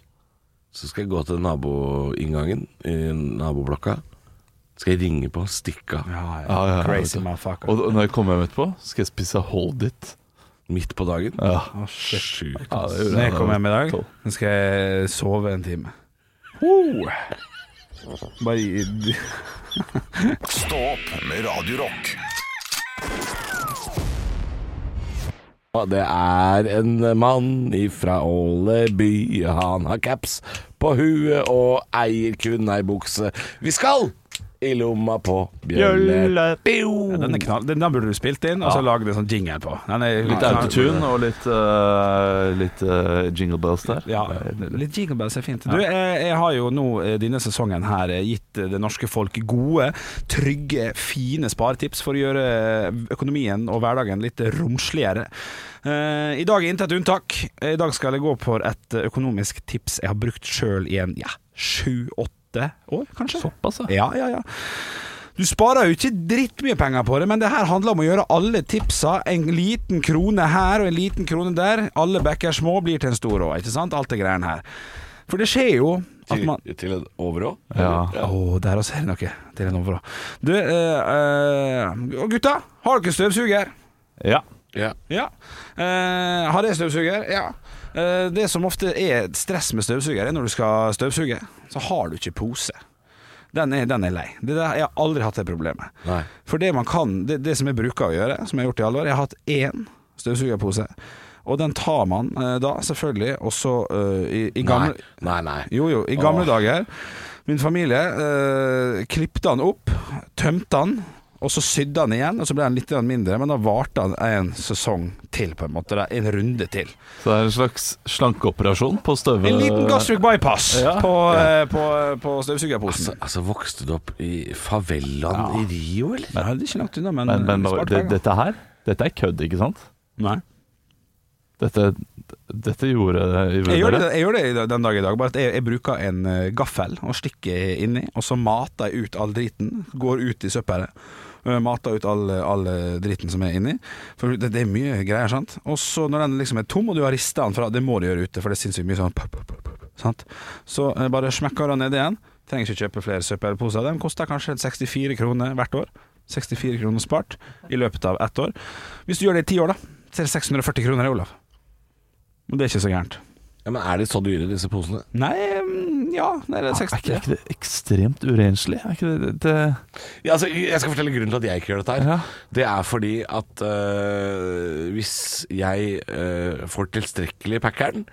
Speaker 3: så skal jeg gå til naboinngangen i naboblokka. Skal jeg ringe på, stikke av.
Speaker 2: Ja, ja.
Speaker 1: Ja, ja, ja,
Speaker 2: Crazy
Speaker 1: vet du.
Speaker 2: motherfucker.
Speaker 1: Og når jeg kommer hjem etterpå, skal jeg spise hold it.
Speaker 3: Midt på dagen.
Speaker 1: Ja.
Speaker 2: Å, shit.
Speaker 3: Sjukt.
Speaker 1: Ja, det gjorde
Speaker 2: Når jeg
Speaker 1: da
Speaker 2: kommer hjem i
Speaker 1: var
Speaker 2: dag,
Speaker 1: tolv.
Speaker 2: så skal jeg sove en time. Ho! Bare i-
Speaker 5: Stå opp med Radio Rock.
Speaker 3: Ja, Det er en mann ifra Åleby. Han har caps på huet og eier kun ei bukse. Vi skal i lomma på bjølle.
Speaker 1: Bjølle.
Speaker 3: Bio!
Speaker 2: Den, er knall, den, den burde du spilt inn, og så lagd en sånn jingle på. Den er,
Speaker 1: Litt autotune og litt, eh, litt eh, jingle bells der.
Speaker 2: Ja, litt jingle bells er fint. Du, jeg, jeg har jo nå eh, denne sesongen her eh, gitt eh, det norske folk gode, trygge, fine sparetips for å gjøre eh, økonomien og hverdagen litt romsligere. Eh, I dag er intet unntak. I dag skal jeg gå for et eh, økonomisk tips jeg har brukt sjøl i en ja, sju-åtte år, kanskje.
Speaker 1: Såpass, ja.
Speaker 2: Ja, ja, ja. Du sparer jo ikke drittmye penger på det, men det her handler om å gjøre alle tipsa. En liten krone her og en liten krone der. Alle bekker små blir til en stor òg, ikke sant? Alt det greiene her. For det skjer jo at
Speaker 3: Til,
Speaker 2: man
Speaker 3: til en overå?
Speaker 1: Ja.
Speaker 2: Å, der også er det noe. Det er noe bra. Du, eh, eh, og gutta, har dere støvsuger?
Speaker 1: ja.
Speaker 3: Ja.
Speaker 2: Ja. Eh, har jeg støvsuger? Ja. Eh, det som ofte er et stress med støvsuger, er når du skal støvsuge, så har du ikke pose. Den er, den er lei. Det der, jeg har aldri hatt det problemet.
Speaker 3: Nei.
Speaker 2: For det man kan, det, det som jeg bruker å gjøre, som jeg har gjort i alle år Jeg har hatt én støvsugerpose, og den tar man eh, da, selvfølgelig, også eh, i, i gamle
Speaker 3: Nei, nei. nei.
Speaker 2: jo, jo. I gamle
Speaker 3: Åh.
Speaker 2: dager Min familie eh, klippte han opp, tømte han, og så sydde han igjen. Og så ble han litt grann mindre, men da varte han en sesong til, på en måte. Da, en runde til.
Speaker 1: Så det er en slags slankeoperasjon på støve...
Speaker 2: En liten gastric bypass
Speaker 1: Eh, Ja.
Speaker 2: på, eh, på, på støvsugerposen.
Speaker 3: Altså, altså, vokste du opp i favelaen
Speaker 2: Ja.
Speaker 3: i Rio, eller?
Speaker 2: Nei, det er ikke langt unna, men,
Speaker 1: Men, men
Speaker 2: spart
Speaker 1: det,
Speaker 2: penger.
Speaker 1: dette her, dette er kødd, ikke sant?
Speaker 2: Nei.
Speaker 1: Dette, dette gjorde
Speaker 2: Jeg gjør,
Speaker 1: gjorde
Speaker 2: det, jeg gjør det i dag- den dag i dag, bare at jeg, jeg bruker en eh, gaffel og stikker inni, og så mater jeg ut all driten. Går ut i søppelet. eh, Mater ut all, all eh, driten som er inni. For det, det er mye greier, sant. Og så når den liksom er tom, og du har rista den fra Det må du gjøre ute, for det er sinnssykt mye sånn pop, pop, pop, pop, sant? Så eh, bare smekker den ned igjen. Trenger ikke kjøpe flere søppelposer. Den koster kanskje 64 kroner hvert år. 64 kroner spart i løpet av ett år. Hvis du gjør det i ti år, da, så er det 640 kroner, Olav. Men det er ikke så gærent.
Speaker 3: Ja, men er de så dyre, disse posene?
Speaker 2: Nei, mm, ja det er det
Speaker 1: Er ikke,
Speaker 2: 60
Speaker 1: er ikke det ekstremt urenslig? Er ikke det, det,
Speaker 3: Ja, altså, jeg skal fortelle grunnen til at jeg ikke gjør dette her.
Speaker 1: Ja.
Speaker 3: Det er fordi at øh, hvis jeg øh, får tilstrekkelig packeren,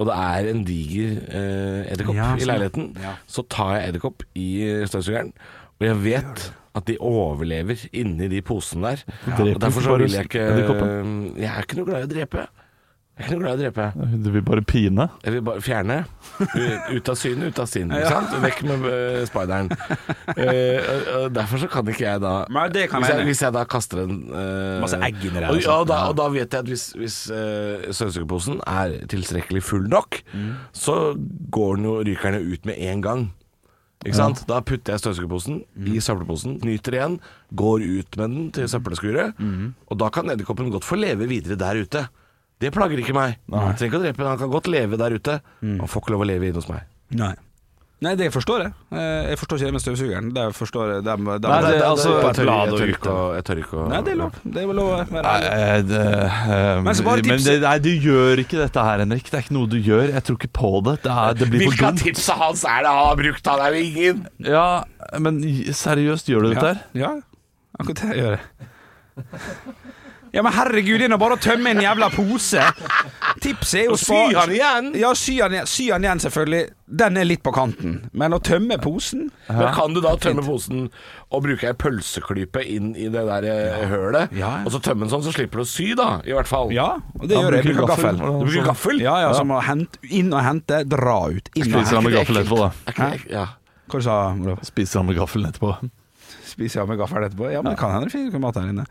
Speaker 3: og det er en diger øh, edderkopp
Speaker 2: Ja,
Speaker 3: i
Speaker 2: sånn.
Speaker 3: leiligheten,
Speaker 2: Ja.
Speaker 3: så tar jeg edderkopp i øh, støvsugeren. Og jeg vet at de overlever inni de posene der.
Speaker 1: dreper
Speaker 3: Og derfor
Speaker 1: ikke
Speaker 3: så
Speaker 1: bare
Speaker 3: vil jeg ikke øh,
Speaker 1: edderkoppen?
Speaker 3: Jeg er ikke noe glad i å drepe. Jeg er ikke noe glad i å drepe.
Speaker 1: Du vil bare pine?
Speaker 3: Jeg vil bare fjerne. U- Ut av syne, ut av sinn. ikke sant? Vekk med øh, speideren. Eh, og- og derfor så kan ikke jeg da
Speaker 2: Nei, det kan
Speaker 3: hvis,
Speaker 2: jeg
Speaker 3: jeg,
Speaker 2: enig.
Speaker 3: hvis jeg da kaster en eh,
Speaker 2: Masse egg inni der,
Speaker 3: Og,
Speaker 2: altså.
Speaker 3: ja, og da, og da vet jeg at hvis, hvis eh, støvsugerposen er tilstrekkelig full nok,
Speaker 2: Mm.
Speaker 3: så går den jo ryker den jo ut med en gang. Ikke sant? Da putter jeg støvsugerposen
Speaker 2: Mm.
Speaker 3: i søppelposen, nyter igjen, går ut med den til søppelskuret.
Speaker 2: Mm.
Speaker 3: Og da kan edderkoppen godt få leve videre der
Speaker 2: Mm.
Speaker 3: ute. Det plager ikke meg. Trenger ikke å drepe den, han kan godt leve der ute. Han får ikke lov å leve inne hos meg.
Speaker 2: Nei. Nei, det forstår jeg. Eh, Jeg forstår ikke det med støvsugeren. Det forstår jeg dem- dem-
Speaker 1: Nei, det er
Speaker 2: dem-
Speaker 1: altså
Speaker 2: dem-
Speaker 1: et
Speaker 2: dem-
Speaker 1: blad og
Speaker 2: dem-
Speaker 3: uke og- Jeg tør ikke å
Speaker 2: Nei, det er lov. Det er lov å
Speaker 1: Nei,
Speaker 2: være ærlig.
Speaker 1: eh, det, eh,
Speaker 2: Men så bare
Speaker 1: men
Speaker 2: tipset-
Speaker 1: det, nei, du gjør ikke dette her, Henrik. Det er ikke noe du gjør. Jeg tror ikke på det. Det, er, det blir for
Speaker 3: Hvilke av
Speaker 1: dumt.
Speaker 3: tipsa hans er det han har brukt? Han er jo ingen!
Speaker 1: Ja, men seriøst, gjør du dette her?
Speaker 2: Ja, ja. akkurat det gjør jeg. Ja, men herregud, det er nå bare å tømme en jævla pose. Tipset er jo
Speaker 3: Sy han igjen!
Speaker 2: Ja, sy han, igjen- sy han igjen, selvfølgelig. Den er litt på kanten. Men å tømme posen
Speaker 3: Men kan du da tømme posen og bruke ei pølseklype inn i det der eh, hølet,
Speaker 2: Ja, ja.
Speaker 3: og så tømme den sånn, så slipper du å sy, da, i hvert fall?
Speaker 2: Ja, og det
Speaker 1: Ja,
Speaker 2: gjør jeg. Jeg
Speaker 1: bruker
Speaker 2: bruker
Speaker 1: gaffel.
Speaker 2: gaffel.
Speaker 3: Du bruker gaffel?
Speaker 2: Ja, ja, som å hente inn og hente, dra ut. Inn og
Speaker 1: Spiser han
Speaker 2: hente.
Speaker 1: med gaffel etterpå, da.
Speaker 3: Er ikke det- ja.
Speaker 2: Hva du sa du?
Speaker 1: Spiser han med gaffelen etterpå.
Speaker 2: Spiser jeg med gaffel etterpå? Ja, men det kan hende det finnes mat her inne.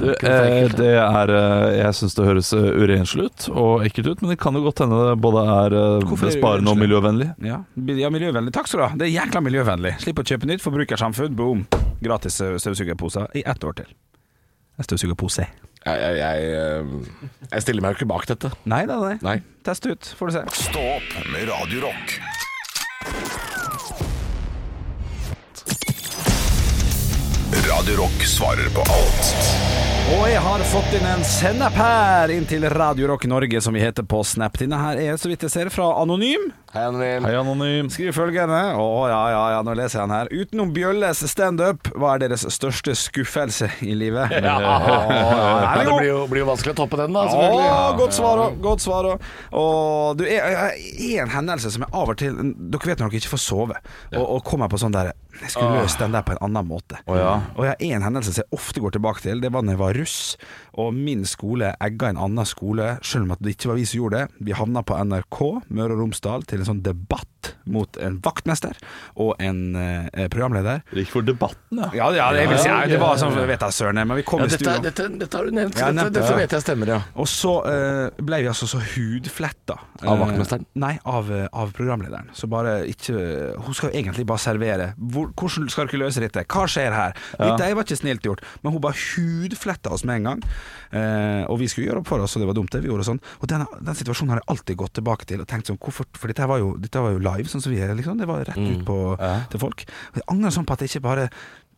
Speaker 1: Du, eh, det er eh, Jeg syns det høres eh, urenslig ut og ekkelt ut, men det kan jo godt hende det både er eh,
Speaker 2: Hvorfor er det
Speaker 1: besparende og
Speaker 2: urenslig?
Speaker 1: miljøvennlig.
Speaker 2: Ja, bi- ja miljøvennlig. Takk skal du ha. Det er jækla miljøvennlig. Slipp å kjøpe nytt forbrukersamfunn. Boom. Gratis eh, støvsugerposer i ett år til. En støvsugerpose.
Speaker 3: Jeg, jeg, jeg, eh, jeg stiller meg jo ikke bak dette.
Speaker 2: Nei da, nei.
Speaker 3: Nei.
Speaker 2: Test ut, får du se.
Speaker 5: Stå opp med Radio Rock. Radio Rock svarer på alt.
Speaker 2: Og jeg har fått inn en sennep her inn til Radio Rock Norge, som vi heter på Snap. Denne her er, så vidt jeg ser, fra Anonym.
Speaker 3: Hei, Henry.
Speaker 1: Hei, Anonym.
Speaker 2: Skriver følgende Å ja, ja, ja, nå leser jeg den her. Utenom Bjølles standup, hva er deres største skuffelse i livet?
Speaker 3: Ja.
Speaker 2: ja,
Speaker 3: Men
Speaker 2: ja.
Speaker 3: det blir jo, blir jo vanskelig å toppe den, da. selvfølgelig.
Speaker 2: Å, godt svar òg. Godt svar òg. Og du er, er en hendelse som jeg av og til Dere vet når dere ikke får sove, og, og kommer på sånn der Jeg skulle løst den der på en annen måte. Og jeg har en hendelse som jeg ofte går tilbake til. Det var da jeg var russ, og min skole egga en annen skole, selv om at det ikke var vi som gjorde det. Vi havna på NRK Møre og Romsdal til en sånn debatt mot en vaktmester og en eh, programleder.
Speaker 1: Det gikk for debatten, ja.
Speaker 2: Ja, ja, det, vil si, ja, det var sånn, vet jeg søren, men vi kom
Speaker 3: Ja,
Speaker 2: i
Speaker 3: dette,
Speaker 2: studio.
Speaker 3: dette, dette har du nevnt.
Speaker 2: Ja,
Speaker 3: dette,
Speaker 2: nevnt,
Speaker 3: dette
Speaker 2: ja.
Speaker 3: vet jeg stemmer, ja.
Speaker 2: Og så eh, ble vi altså så hudfletta.
Speaker 3: Av vaktmesteren?
Speaker 2: Eh, nei, av, eh, av programlederen. Så bare ikke Hun skal jo egentlig bare servere. Hvor, hvordan skal dere løse dette? Hva skjer her? Dette var ikke snilt gjort. Men hun bare hudfletta oss med en gang. Eh, og vi skulle gjøre opp for oss, og det var dumt, det. Vi gjorde sånn. Og den, den situasjonen har jeg alltid gått tilbake til og tenkt sånn hvorfor For dette her var jo, dette var jo live, sånn som vi er, liksom. Det var rett
Speaker 3: Mm.
Speaker 2: ut på, til folk. Og jeg angrer sånn på at jeg ikke bare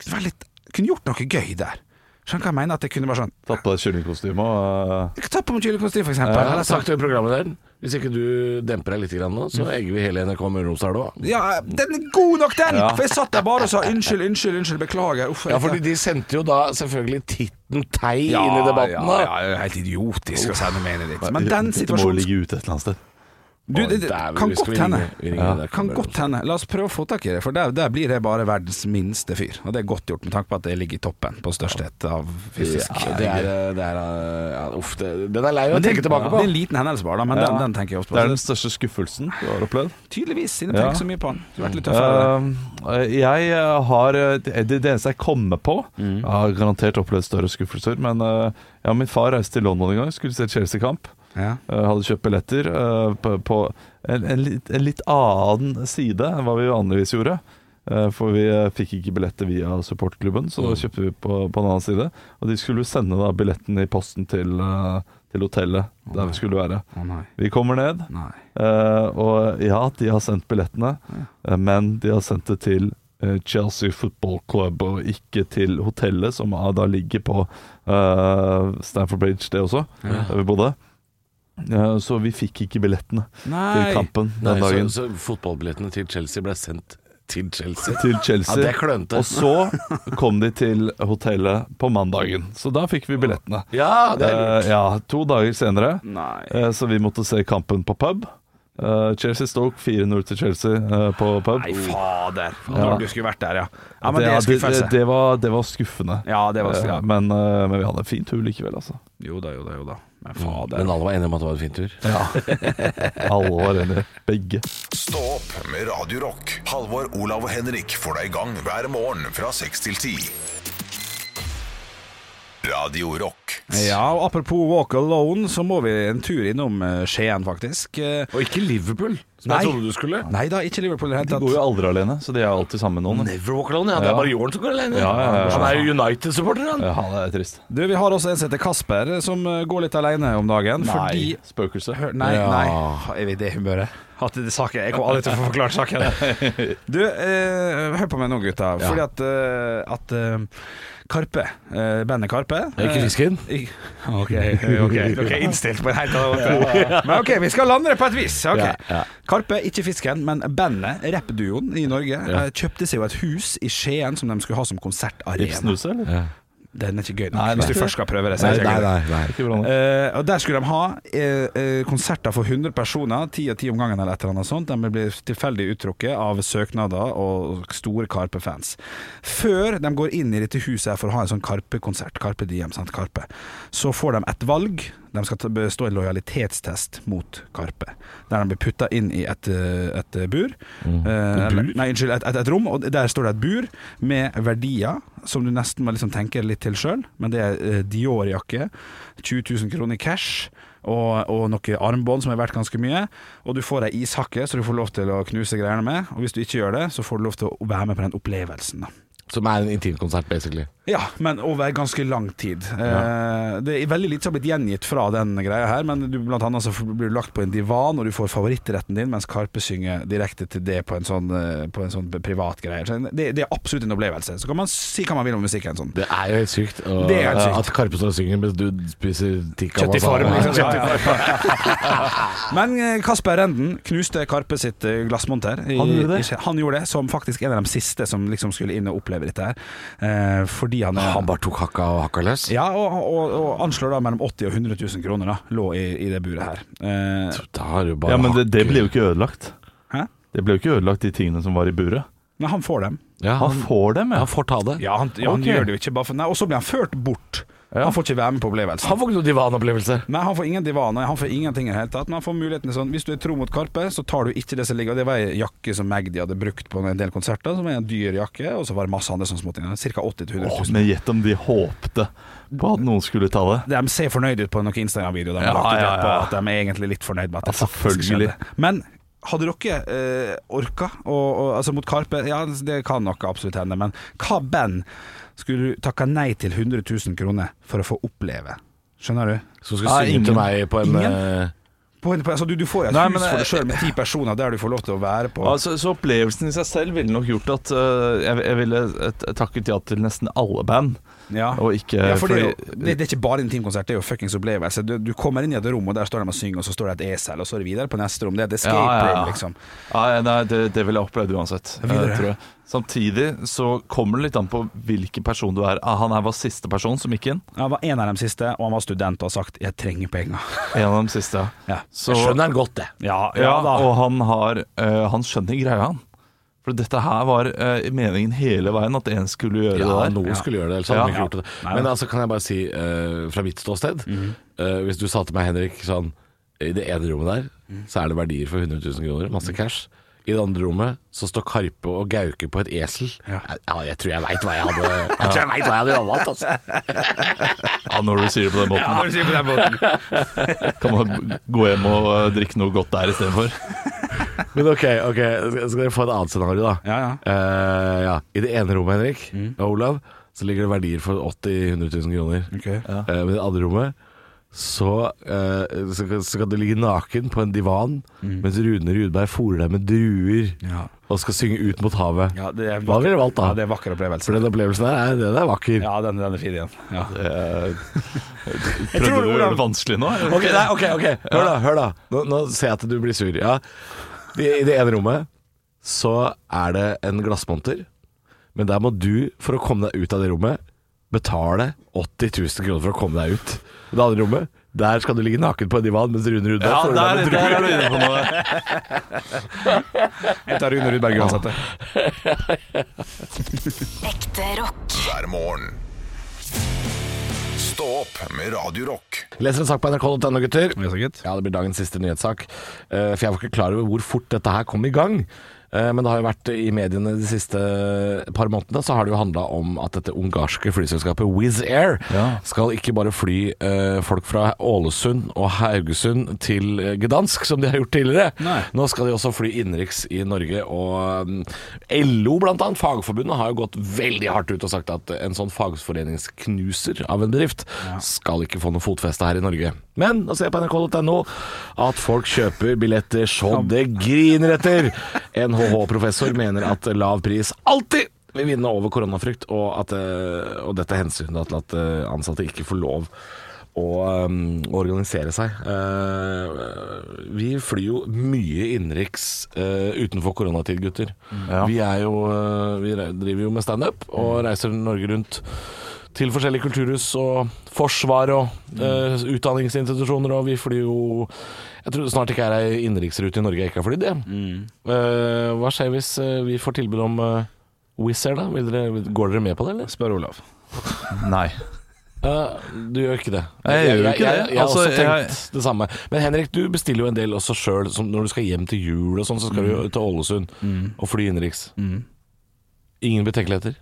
Speaker 2: var litt, kunne gjort noe gøy der. Skjønner du hva jeg mener? At jeg kunne bare sånn
Speaker 1: Tatt på deg kyllingkostyme og eh,
Speaker 2: Ta på meg kyllekostyme, for eksempel.
Speaker 3: Jeg har
Speaker 2: Eller så-
Speaker 3: sagt til programlederen hvis ikke du demper deg litt grann nå, så egger vi hele NRK Møre og Romsdal òg.
Speaker 2: Ja, den er god nok, den!
Speaker 1: Ja.
Speaker 2: For jeg satt der bare og sa unnskyld, unnskyld, unnskyld, beklager. Uff,
Speaker 3: Ja,
Speaker 2: jeg-
Speaker 3: fordi de sendte jo da selvfølgelig Titten Tei
Speaker 2: Ja,
Speaker 3: inn i
Speaker 2: ja,
Speaker 3: debatten, da.
Speaker 2: ja, det er helt idiotisk å sende mailen dit. Men den
Speaker 1: Dette eh, må jo
Speaker 2: situasjonen
Speaker 1: ligge ute et eller annet sted.
Speaker 2: du,
Speaker 3: Å,
Speaker 2: det, det,
Speaker 3: dæven,
Speaker 2: Kan
Speaker 3: vi skal
Speaker 2: godt
Speaker 3: vi ringe-
Speaker 2: hende.
Speaker 3: vi ringer
Speaker 2: Ja.
Speaker 3: NRK
Speaker 2: Kan
Speaker 3: Møre og
Speaker 2: godt hende. La oss prøve å få tak i det, for der, der blir jeg bare verdens minste fyr. Og det er godt gjort med tanke på at jeg ligger i toppen på størsthet av fysisk.
Speaker 3: Ja, det er, det er ja, Uff, det, den er lei å
Speaker 2: Men det,
Speaker 3: tenke tilbake
Speaker 2: det er
Speaker 3: på.
Speaker 2: en liten hendelse bare, da, men den,
Speaker 1: Ja.
Speaker 2: den tenker jeg ofte
Speaker 1: Det
Speaker 2: på.
Speaker 1: er den største skuffelsen du har opplevd.
Speaker 2: Tydeligvis, siden jeg
Speaker 1: Ja.
Speaker 2: tenker så mye på den. Du har vært litt tøffere.
Speaker 1: Eh, jeg har eh, Det det eneste jeg kommer på
Speaker 2: Mm.
Speaker 1: Jeg har garantert opplevd større skuffelser, men eh, ja, min far reiste til London en gang, skulle se Chelsea-kamp.
Speaker 2: Ja.
Speaker 1: Eh, hadde kjøpt billetter eh, på, på en, en, litt, en litt annen side enn hva vi vanligvis gjorde. Eh, for vi eh, fikk ikke billetter via supportklubben, så da kjøpte vi på, på en annen side. Og de skulle sende da billetten i posten til, eh, til hotellet der vi skulle være.
Speaker 2: Å nei.
Speaker 1: Vi kommer ned,
Speaker 2: Nei.
Speaker 1: eh, og ja, de har sendt billettene, eh, men de har sendt det til eh, Chelsea Football Club, og ikke til hotellet, som ah, da ligger på eh, Stamford Bridge, det også, der vi bodde. Eh, Så vi fikk ikke billettene til
Speaker 2: Nei.
Speaker 1: kampen den
Speaker 3: Nei, så,
Speaker 1: dagen.
Speaker 3: så fotballbillettene til Chelsea ble sendt til Chelsea.
Speaker 1: Til
Speaker 3: Ja,
Speaker 1: Chelsea.
Speaker 3: det er klønete.
Speaker 1: og så kom de til hotellet på mandagen, så da fikk vi billettene.
Speaker 3: Ja, det er
Speaker 1: Eh,
Speaker 3: lurt.
Speaker 1: ja, to dager senere.
Speaker 2: Nei.
Speaker 1: Eh, Så vi måtte se kampen på pub. Eh, Chelsea Stoke 4-0 til Chelsea eh, på pub.
Speaker 2: Nei, fader.
Speaker 1: Ja.
Speaker 2: Når du skulle vært der, ja. Ja, men
Speaker 1: det,
Speaker 2: det er
Speaker 1: det,
Speaker 2: skuffelse.
Speaker 1: det, det, var, det var skuffende.
Speaker 2: Ja, det var
Speaker 1: Eh, Men, eh, men vi hadde en fin tur likevel, altså.
Speaker 2: Jo da, jo da, jo da. Men
Speaker 1: Mm,
Speaker 3: Men alle var enige om at det var en fin tur.
Speaker 1: Alle var enige. Begge.
Speaker 5: Stå opp med Radio Rock. Halvor, Olav og Henrik får deg i gang hver morgen fra 6 til 10. Radio Rock.
Speaker 2: Ja, og apropos walk alone, så må vi en tur innom eh, Skien, faktisk. Eh,
Speaker 3: Og ikke Liverpool, som
Speaker 2: Nei.
Speaker 3: jeg trodde du skulle.
Speaker 2: Nei da, ikke Liverpool i det hele
Speaker 1: De går jo
Speaker 2: tatt.
Speaker 1: aldri alene, så de er alltid sammen med noen. da.
Speaker 3: Never walk alone, ja. Det
Speaker 1: Ja.
Speaker 3: er bare Jorn som går alene.
Speaker 1: Ja, ja, ja, ja.
Speaker 3: Han er jo United-supporter, han.
Speaker 1: Ja, det er trist.
Speaker 2: Du, vi har også en som heter Kasper, som eh, går litt alene om dagen. Fordi
Speaker 1: Spøkelse.
Speaker 2: Hør, Nei,
Speaker 3: Ja.
Speaker 2: nei. Er vi i det humøret? At det er saken, Jeg kommer aldri til å få forklart saken. Du, eh, hør på meg nå, gutta.
Speaker 3: Ja.
Speaker 2: Fordi at, eh, at eh, Karpe, eh, bandet Karpe eh,
Speaker 3: fisken?
Speaker 2: Ik- Ok, ok, ok, innstilt på en helt annen måte. Men ok, vi skal lande det på et vis. ok.
Speaker 3: Ja, ja.
Speaker 2: Karpe, ikke fisken, men bandet, rappduoen i Norge, eh, kjøpte seg jo et hus i Skien som de skulle ha som konsertarena.
Speaker 1: Ibsenhuset, eller?
Speaker 2: Den er ikke gøy nok,
Speaker 1: Nei, nei.
Speaker 2: hvis du først skal prøve det. så
Speaker 6: Nei,
Speaker 2: er det
Speaker 6: nei,
Speaker 2: ikke gøy
Speaker 6: nei.
Speaker 2: nok.
Speaker 6: nei.
Speaker 1: Ikke bra nok.
Speaker 2: Eh, og Der skulle de ha eh, eh, konserter for 100 personer, ti og ti om gangen eller et eller annet sånt. De ble tilfeldig uttrukket av søknader og store Karpe-fans. Før de går inn i dette huset her for å ha en sånn Karpe-konsert, Karpe Diem, sant, Karpe, så får de et valg. De skal ta- bestå en lojalitetstest mot Karpe, der de blir putta inn i et, eh, et bur. Eh, eller- Nei, unnskyld, et, et, et rom, og der står det et bur med verdier som du nesten må liksom tenke litt til sjøl, men det er eh, Dior-jakke, 20 000 kroner i cash. Og, og noen armbånd som er verdt ganske mye. Og du får ei ishakke, så du får lov til å knuse greiene med. Og hvis du ikke gjør det, så får du lov til å være med på den opplevelsen. Da.
Speaker 3: Som er en intimkonsert, basically.
Speaker 2: Ja, men over ganske lang tid. Eh, det er veldig lite som har blitt gjengitt fra den greia her, men du, blant annet så blir du lagt på en divan, og du får favorittretten din, mens Karpe synger direkte til det på en sånn, eh, på en sånn privat greie. Så Det, det er absolutt en opplevelse. Så kan man si hva man vil om musikken. Sånn.
Speaker 3: Det er jo helt sykt, og
Speaker 2: Det er helt sykt.
Speaker 3: at Karpe står og synger mens du spiser tikka
Speaker 2: Kjøtt i form,
Speaker 3: masala.
Speaker 2: liksom. Men eh, Kasper Renden knuste Karpe sitt eh, glassmonter. i-
Speaker 1: Han gjorde det?
Speaker 2: i- han gjorde det, som faktisk en av de siste som liksom skulle inn og oppleve dette her. Eh, fordi han er
Speaker 6: Han bare tok hakka og hakka løs.
Speaker 2: Ja, og, og, og anslår da mellom 80 og 100 000 kroner da, lå i, i det buret her. Eh,
Speaker 3: Da har du bare
Speaker 1: Ja, men det, det ble jo ikke ødelagt.
Speaker 2: Hæ?
Speaker 1: Det ble jo ikke ødelagt, de tingene som var i buret.
Speaker 2: men han får dem.
Speaker 3: ja,
Speaker 1: Han
Speaker 3: han,
Speaker 1: får dem, ja.
Speaker 3: han får ta det.
Speaker 2: Ja, han, ja, han
Speaker 1: Ok.
Speaker 2: gjør det jo ikke bare for Nei, og så blir han ført bort.
Speaker 1: Ja.
Speaker 2: Han får ikke være med på opplevelsen.
Speaker 3: Han får ikke noe divanopplevelse.
Speaker 2: Nei, han får ingen divaner, han får ingenting i det hele tatt. Men han får muligheten til sånn Hvis du er tro mot Karpe, så tar du ikke det som ligger Og det var ei jakke som Magdi hadde brukt på en del konserter, som er en dyr jakke, og så var det masse andre sånne småting. Cirka 80 000-100 000.
Speaker 1: Åh, men gjett om de håpte på at noen skulle ta det.
Speaker 2: De ser fornøyde ut på noen Instagram-videoer. De,
Speaker 1: Ja,
Speaker 2: har lagt ut
Speaker 1: ja,
Speaker 2: etterpå,
Speaker 1: ja.
Speaker 2: at de er egentlig litt fornøyd med at det
Speaker 1: Ja,
Speaker 2: faktisk
Speaker 1: selvfølgelig.
Speaker 2: skjedde. Men hadde dere eh, orka å- å- altså mot Karpe Ja, det kan nok absolutt hende, men hva band skulle du takka nei til 100 000 kroner for å få oppleve? Skjønner du?
Speaker 3: Som skal
Speaker 1: Ja,
Speaker 3: synge
Speaker 1: ingen.
Speaker 3: til meg på en
Speaker 2: Ingen.
Speaker 3: eh,
Speaker 2: På, en- på, altså, du, du får jo et
Speaker 1: Nei,
Speaker 2: hus
Speaker 1: men
Speaker 2: for
Speaker 1: jeg-
Speaker 2: deg sjøl med ti personer der du får lov til å være på.
Speaker 1: Altså, så opplevelsen i seg selv ville nok gjort at eh, jeg, jeg ville eh, takket ja til nesten alle band.
Speaker 2: ja.
Speaker 1: Og ikke
Speaker 2: Ja, for det, er jo-
Speaker 1: fordi-
Speaker 2: det, det er ikke bare intimkonsert, det er jo fuckings opplevelse. Du, du kommer inn i et rom, og der står de og synger, og så står det et esel, og så er det videre på neste rom. Det er et escape
Speaker 1: Ja, ja, ja.
Speaker 2: room, liksom.
Speaker 1: Nei, nei det, det ville jeg opplevd uansett. eh,
Speaker 2: Videre.
Speaker 1: Tror jeg. Samtidig så kommer det litt an på hvilken person du er. Ah, han her var siste person som gikk inn.
Speaker 2: Han var en av dem siste, og han var student og har sagt 'jeg trenger penger'.
Speaker 1: En av de siste.
Speaker 2: Ja,
Speaker 1: Så,
Speaker 3: Jeg skjønner han godt, det.
Speaker 2: ja,
Speaker 1: ja, og han har eh, Han skjønner greia, han. For dette her var eh, meningen hele veien, at en skulle gjøre
Speaker 3: Ja,
Speaker 1: det der.
Speaker 3: noen skulle gjøre det, ellers hadde
Speaker 1: Ja.
Speaker 3: vi ikke gjort det. Men altså, kan jeg bare si, eh, fra mitt ståsted eh, Hvis du sa til meg, Henrik, sånn I det ene rommet der, så er det verdier for 100 000 kroner, masse cash. I det andre rommet så står Karpe og Gauke på et esel. Ja, jeg tror jeg veit hva jeg hadde Jeg tror jeg vet hva jeg hadde valgt, altså.
Speaker 1: Ja, Ah, når du sier det på den måten, kan man gå hjem og eh, drikke noe godt der istedenfor.
Speaker 3: Men ok, ok, skal skal dere få et annet scenario, da.
Speaker 2: Ja, Mm. ja.
Speaker 3: Eh, ja. I det ene rommet, Henrik og Olav, så ligger det verdier for 80 000-100 000 kroner. Eh, Men i det andre rommet så, eh, så, kan- så kan du ligge naken på en divan mens Rune Rudberg fôrer deg med druer
Speaker 2: Mm. Ja.
Speaker 3: og skal synge ut mot havet.
Speaker 2: Ja, det er
Speaker 3: Hva ville du valgt da?
Speaker 2: Ja, det er vakker
Speaker 3: For
Speaker 2: opplevelse.
Speaker 3: den opplevelsen der, er- den er vakker.
Speaker 2: Ja, den, den er fin igjen. Ja.
Speaker 1: Eh,
Speaker 2: tror
Speaker 1: Prøvde du å
Speaker 2: Olav-
Speaker 1: gjøre det vanskelig nå? eller?
Speaker 3: Ok, nei, ok, ok Hør da, hør da Nå, nå ser jeg at du blir sur ja. I, I det ene rommet Så er det en glassmonter Men der må du, for å komme deg ut av det rommet Betale 80 000 kroner for å komme deg ut I det andre rommet der skal du ligge naken på en divan Mens Rune Rudberg
Speaker 1: Ja,
Speaker 3: får
Speaker 1: der,
Speaker 3: deg med
Speaker 1: der er du inne på noe.
Speaker 2: Jeg tar Rune Rudberg uansett. det.
Speaker 4: Ekte rock.
Speaker 5: hver morgen. Stå opp med Radio Rock.
Speaker 3: dro- Leser en sak på NRK.no gutter
Speaker 2: Ja, så gutt.
Speaker 3: Ja, det blir dagens siste nyhetssak. Eh, for jeg var ikke klar over hvor fort dette her kom i gang. Eh, men det har jo vært i mediene de siste eh, par månedene så har det jo handla om at dette ungarske flyselskapet Wizz Air
Speaker 1: Ja.
Speaker 3: skal ikke bare fly eh, folk fra Ålesund og Haugesund til eh, Gdansk, som de har gjort tidligere.
Speaker 2: Nei.
Speaker 3: Nå skal de også fly innenriks i Norge. Og mm, LO, blant annet, Fagforbundet, har jo gått veldig hardt ut og sagt at en sånn fagforeningsknuser av en bedrift skal ikke få noe fotfeste her i Norge. Men å se på nrk.no at folk kjøper billetter så det griner etter. NHH-professor mener at lav pris alltid vil vinne over koronafrykt, og, at, eh, og dette er hensynet til at eh, ansatte ikke får lov å eh, organisere seg. Eh, vi flyr jo mye innenriks eh, utenfor koronatid, gutter. Vi, er jo, eh, vi re- driver jo med standup og reiser Norge rundt til forskjellige kulturhus og forsvar
Speaker 1: Mm.
Speaker 3: og eh, utdanningsinstitusjoner, og vi flyr jo Jeg tror snart ikke er ei innenriksrute i Norge jeg ikke har flydd, jeg.
Speaker 1: Mm.
Speaker 3: Eh, hva skjer hvis eh, vi får tilbud om uh, Wizz Air, da? Vil dere, går dere med på det, eller?
Speaker 2: Spør Olav.
Speaker 1: Nei.
Speaker 3: Eh, du gjør ikke det.
Speaker 1: Jeg gjør jo ikke
Speaker 3: jeg,
Speaker 1: det.
Speaker 3: Jeg, jeg har
Speaker 1: Altså,
Speaker 3: også
Speaker 1: jeg-
Speaker 3: tenkt det samme. Men Henrik, du bestiller jo en del også sjøl. Når du skal hjem til jul og sånn, så skal du
Speaker 1: Mm.
Speaker 3: jo til Ålesund og fly innenriks. Ingen betenkeligheter?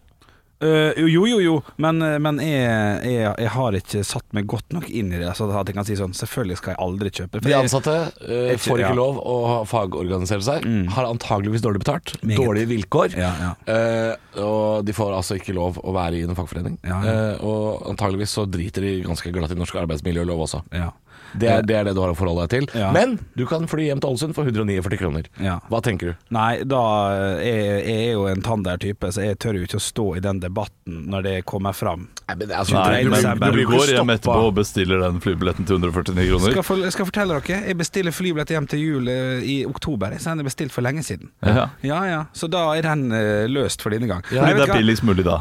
Speaker 2: Eh, jo, jo, jo, men, men jeg, jeg, jeg har ikke satt meg godt nok inn i det, så at jeg kan si sånn Selvfølgelig skal jeg aldri kjøpe. for
Speaker 3: De
Speaker 2: jeg-
Speaker 3: ansatte eh,
Speaker 2: Ikke-
Speaker 3: får ikke
Speaker 2: ja. Mm.
Speaker 3: lov å fagorganisere seg. Har antageligvis dårlig betalt,
Speaker 2: Meget.
Speaker 3: dårlige vilkår.
Speaker 2: Ja, ja.
Speaker 3: eh, og de får altså ikke lov å være i en fagforening.
Speaker 2: Ja, ja.
Speaker 3: Eh, og antageligvis så driter de ganske glatt i norsk arbeidsmiljølov også.
Speaker 2: Ja.
Speaker 3: Det er, det er det du har å forholde deg til.
Speaker 2: Ja.
Speaker 3: Men du kan fly hjem til Ålesund for 149 kroner.
Speaker 2: Ja.
Speaker 3: Hva tenker du?
Speaker 2: Nei, da jeg, jeg er jo en tander-type, så jeg tør jo ikke å stå i den debatten når det kommer fram.
Speaker 1: Nei,
Speaker 2: Nei,
Speaker 1: men
Speaker 2: altså du
Speaker 1: du
Speaker 2: blir
Speaker 3: ikke
Speaker 1: går hjem
Speaker 3: stoppa.
Speaker 1: etterpå og bestiller den flybilletten til 149
Speaker 2: Skal
Speaker 1: kroner.
Speaker 2: jeg for, skal jeg fortelle dere, jeg bestiller flybillett hjem til jul eh, i oktober. Jeg sender bestilt for lenge siden.
Speaker 1: Ja.
Speaker 2: Ja ja, så da er den eh, løst for denne gang. Nei,
Speaker 1: Fordi det
Speaker 2: vet
Speaker 1: er
Speaker 2: du hva?
Speaker 1: billigst mulig da.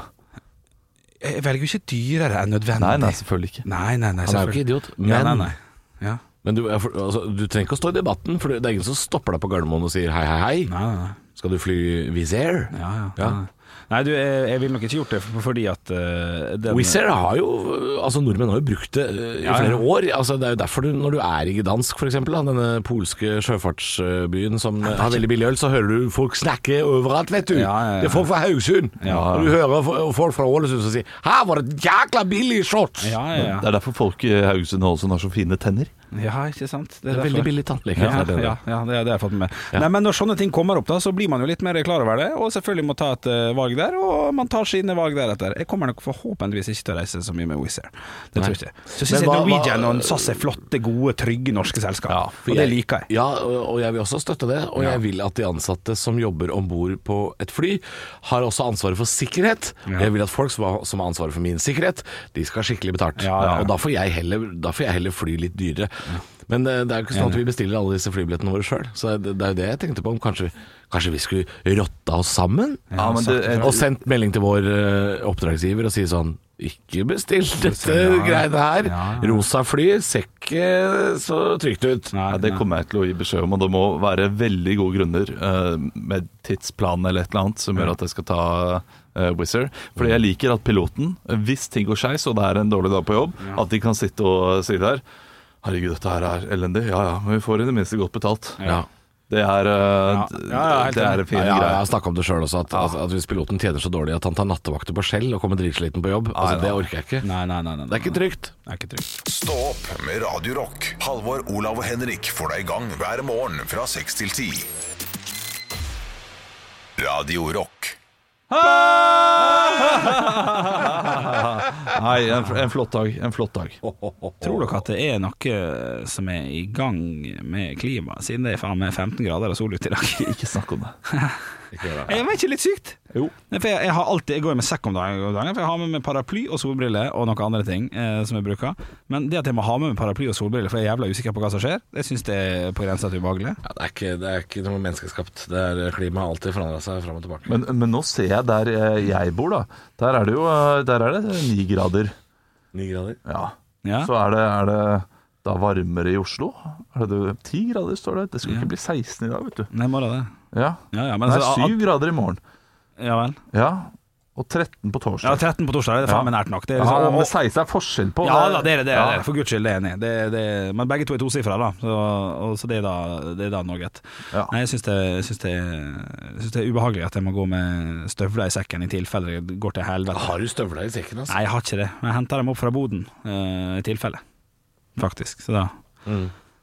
Speaker 2: Jeg velger jo ikke dyrere enn nødvendig.
Speaker 1: Nei, nei, selvfølgelig ikke.
Speaker 2: Nei, nei, nei,
Speaker 3: Han er jo ikke
Speaker 2: selvfølgelig.
Speaker 3: idiot, men,
Speaker 2: Ja, nei, nei. Ja.
Speaker 3: men du, er for- altså, du trenger ikke å stå i debatten, for det er ingen som stopper deg på Gardermoen og sier hei, hei, hei.
Speaker 2: Nei, nei, nei.
Speaker 3: Skal du fly Wizz Air?
Speaker 2: Ja, ja, ja. Nei, du, jeg, jeg ville nok ikke gjort det for- fordi at eh, den,
Speaker 3: Wizz Air har jo Altså Nordmenn har jo brukt det eh, i
Speaker 2: Ja, ja.
Speaker 3: flere år. Altså Det er jo derfor du, når du er i Gdansk, f.eks., denne polske sjøfartsbyen som eh, har veldig billig øl, så hører du folk snakke overalt, vet du.
Speaker 2: Ja, ja, ja.
Speaker 3: Det er folk fra Haugesund.
Speaker 2: Ja.
Speaker 3: Og du hører fo- folk fra Ålesund som sier 'Her var det jækla billig shots'!
Speaker 2: Ja, ja, ja.
Speaker 1: Det er derfor folk i Haugesund og Ålesund har så fine tenner.
Speaker 2: ja, ikke sant?
Speaker 3: Det er
Speaker 2: derfor.
Speaker 3: veldig billig tannlege.
Speaker 2: Ja,
Speaker 3: det er det.
Speaker 2: ja, ja det, det har jeg fått med meg. Nei, men når sånne ting kommer opp, da, så blir man jo litt mer klar over det, og selvfølgelig må ta et eh, valg der, og man tar sine valg deretter. Jeg kommer nok forhåpentligvis ikke til å reise så mye med Wizz Air. Det tror jeg ikke. Så
Speaker 3: Men
Speaker 2: syns jeg
Speaker 3: hva-
Speaker 2: Norwegian
Speaker 3: hva-
Speaker 2: og SAS er flotte, gode, trygge norske selskap,
Speaker 3: for
Speaker 2: og det liker jeg.
Speaker 3: Ja, og og jeg vil også støtte det. Og jeg vil at de ansatte som jobber om bord på et fly, har også ansvaret for sikkerhet. Og Jeg vil at folk som har, som har ansvaret for min sikkerhet, de skal ha skikkelig betalt.
Speaker 2: Ja, ja, ja.
Speaker 3: Og da får, jeg heller, da får jeg heller fly litt dyrere. Men eh, det er jo ikke sånn at vi bestiller alle disse flybillettene våre sjøl. Så det, det er jo det jeg tenkte på. Om kanskje, kanskje vi skulle rotta oss sammen?
Speaker 1: Ja, men det,
Speaker 3: Og sendt melding til vår eh, oppdragsgiver og si sånn Ikke bestill dette
Speaker 2: ja.
Speaker 3: greiene her.
Speaker 2: Ja, ja.
Speaker 3: Rosa fly ser ikke så trygt ut.
Speaker 2: Nei,
Speaker 1: ja, det kommer jeg til å gi beskjed om, og det må være veldig gode grunner eh, med tidsplan eller et eller annet som gjør at jeg skal ta uh, Wizz Air. Fordi jeg liker at piloten, hvis ting går skeis og det er en dårlig dag på jobb, at de kan sitte og si der Herregud, dette her er elendig. Ja ja, men vi får i det minste godt betalt.
Speaker 3: Ja.
Speaker 1: Det er, eh,
Speaker 2: Ja, ja, helt
Speaker 1: det er
Speaker 2: enig.
Speaker 1: en fin
Speaker 3: Ja, ja, jeg
Speaker 1: greie.
Speaker 3: har snakka om det sjøl også, at, at, at hvis piloten tjener så dårlig at han tar nattevakter på Skjell og kommer dritsliten på jobb, altså, det orker jeg ikke.
Speaker 2: Nei, nei, nei. nei,
Speaker 3: Det er ikke
Speaker 2: nei.
Speaker 3: trygt.
Speaker 2: Det er ikke trygt.
Speaker 5: Stå opp med Radio Rock. Halvor, Olav og Henrik får deg i gang hver morgen fra 6 til 10. Radio Rock.
Speaker 1: Nei, en, en flott dag. En flott dag.
Speaker 2: Tror dere at det er noe som er i gang med klimaet, siden det er faen meg 15 grader og sol ute i dag?
Speaker 1: Ikke snakk om det.
Speaker 2: Eh, Jeg vet ikke, litt sykt?
Speaker 1: Jo.
Speaker 2: Nei, for jeg, jeg, har alltid, jeg går jo med sekk om dagen, om dagen, for jeg har med meg paraply og solbriller og noen andre ting eh, som jeg bruker. Men det at jeg må ha med meg paraply og solbriller, for jeg er jævla usikker på hva som skjer, det syns jeg er på grensa til ubehagelig.
Speaker 3: Ja, det, er ikke, det er ikke noe menneskeskapt. Det er Klimaet har alltid forandra seg fram og tilbake.
Speaker 1: Men, men nå ser jeg der eh, jeg bor, da. Der er det jo eh, Der er det ni grader.
Speaker 3: Ni grader.
Speaker 1: Ja.
Speaker 2: Ja.
Speaker 1: Så er det, er det da varmere i Oslo. Er det det- 10 grader, står det. Det skulle ikke bli 16 i dag, vet du.
Speaker 2: Nei, må da det.
Speaker 1: Ja.
Speaker 2: Ja, ja, men
Speaker 1: Det er
Speaker 2: altså,
Speaker 1: 7 grader i morgen.
Speaker 2: at- Ja vel.
Speaker 1: Ja. Og 13 på
Speaker 2: Ja,
Speaker 1: torsdag.
Speaker 2: 13 på torsdag, det er faen meg nært nok. Det er liksom,
Speaker 1: Ja, men
Speaker 2: og-
Speaker 1: 16 er forskjell på.
Speaker 2: ja da, det er det, det er
Speaker 1: Ja.
Speaker 2: det. For guds skyld, det er enig. Det, det, men begge to er tosifra, da. Så, og, så det er da, det er da noe.
Speaker 1: Ja.
Speaker 2: Nei, jeg syns det, jeg synes det, jeg synes det er ubehagelig at jeg må gå med støvler i sekken i tilfelle det går til helvete.
Speaker 3: Har du støvla i sekken, altså?
Speaker 2: Nei,
Speaker 1: Mm.
Speaker 2: jeg har ikke det. Men jeg henter dem opp fra boden, eh, i tilfelle. Faktisk. Så da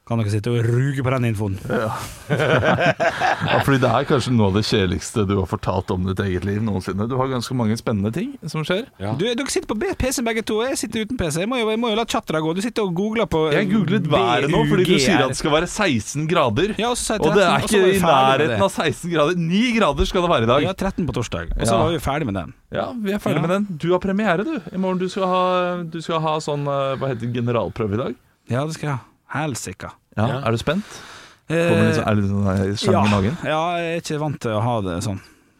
Speaker 2: kan dere sitte og ruge på den infoen.
Speaker 1: Ja, fordi det er kanskje noe av det kjedeligste du har fortalt om ditt eget liv noensinne. Du har ganske mange spennende ting som skjer.
Speaker 3: Ja.
Speaker 2: Du, dere sitter på B- PC begge to, jeg sitter uten PC. Jeg må jo, jeg må jo la chattera gå. Du sitter og googler på eh,
Speaker 1: Jeg googlet været nå fordi du
Speaker 2: BUGR.
Speaker 1: sier at det skal være 16 grader.
Speaker 2: Ja, og så sa jeg
Speaker 1: Og det
Speaker 2: 13,
Speaker 1: er
Speaker 2: og så
Speaker 1: ikke
Speaker 2: var
Speaker 1: i
Speaker 2: vi ferdig med det.
Speaker 1: nærheten av 16 grader. 9 grader skal det være i dag.
Speaker 2: Ja, 13 på torsdag. Og så
Speaker 1: Ja.
Speaker 2: var vi ferdig med den.
Speaker 1: Ja, vi er ferdig
Speaker 2: Ja.
Speaker 1: med den. Du har premiere, du. I morgen du skal ha, du skal ha sånn eh, Hva heter det, generalprøve i dag?
Speaker 2: Ja, det skal jeg ha. Helsika.
Speaker 1: Ja.
Speaker 3: Ja.
Speaker 1: Er du spent? Kommer det litt sånn, er det litt sånn eh, slang
Speaker 2: ja.
Speaker 1: i magen?
Speaker 2: ja, jeg er ikke vant til å ha det sånn.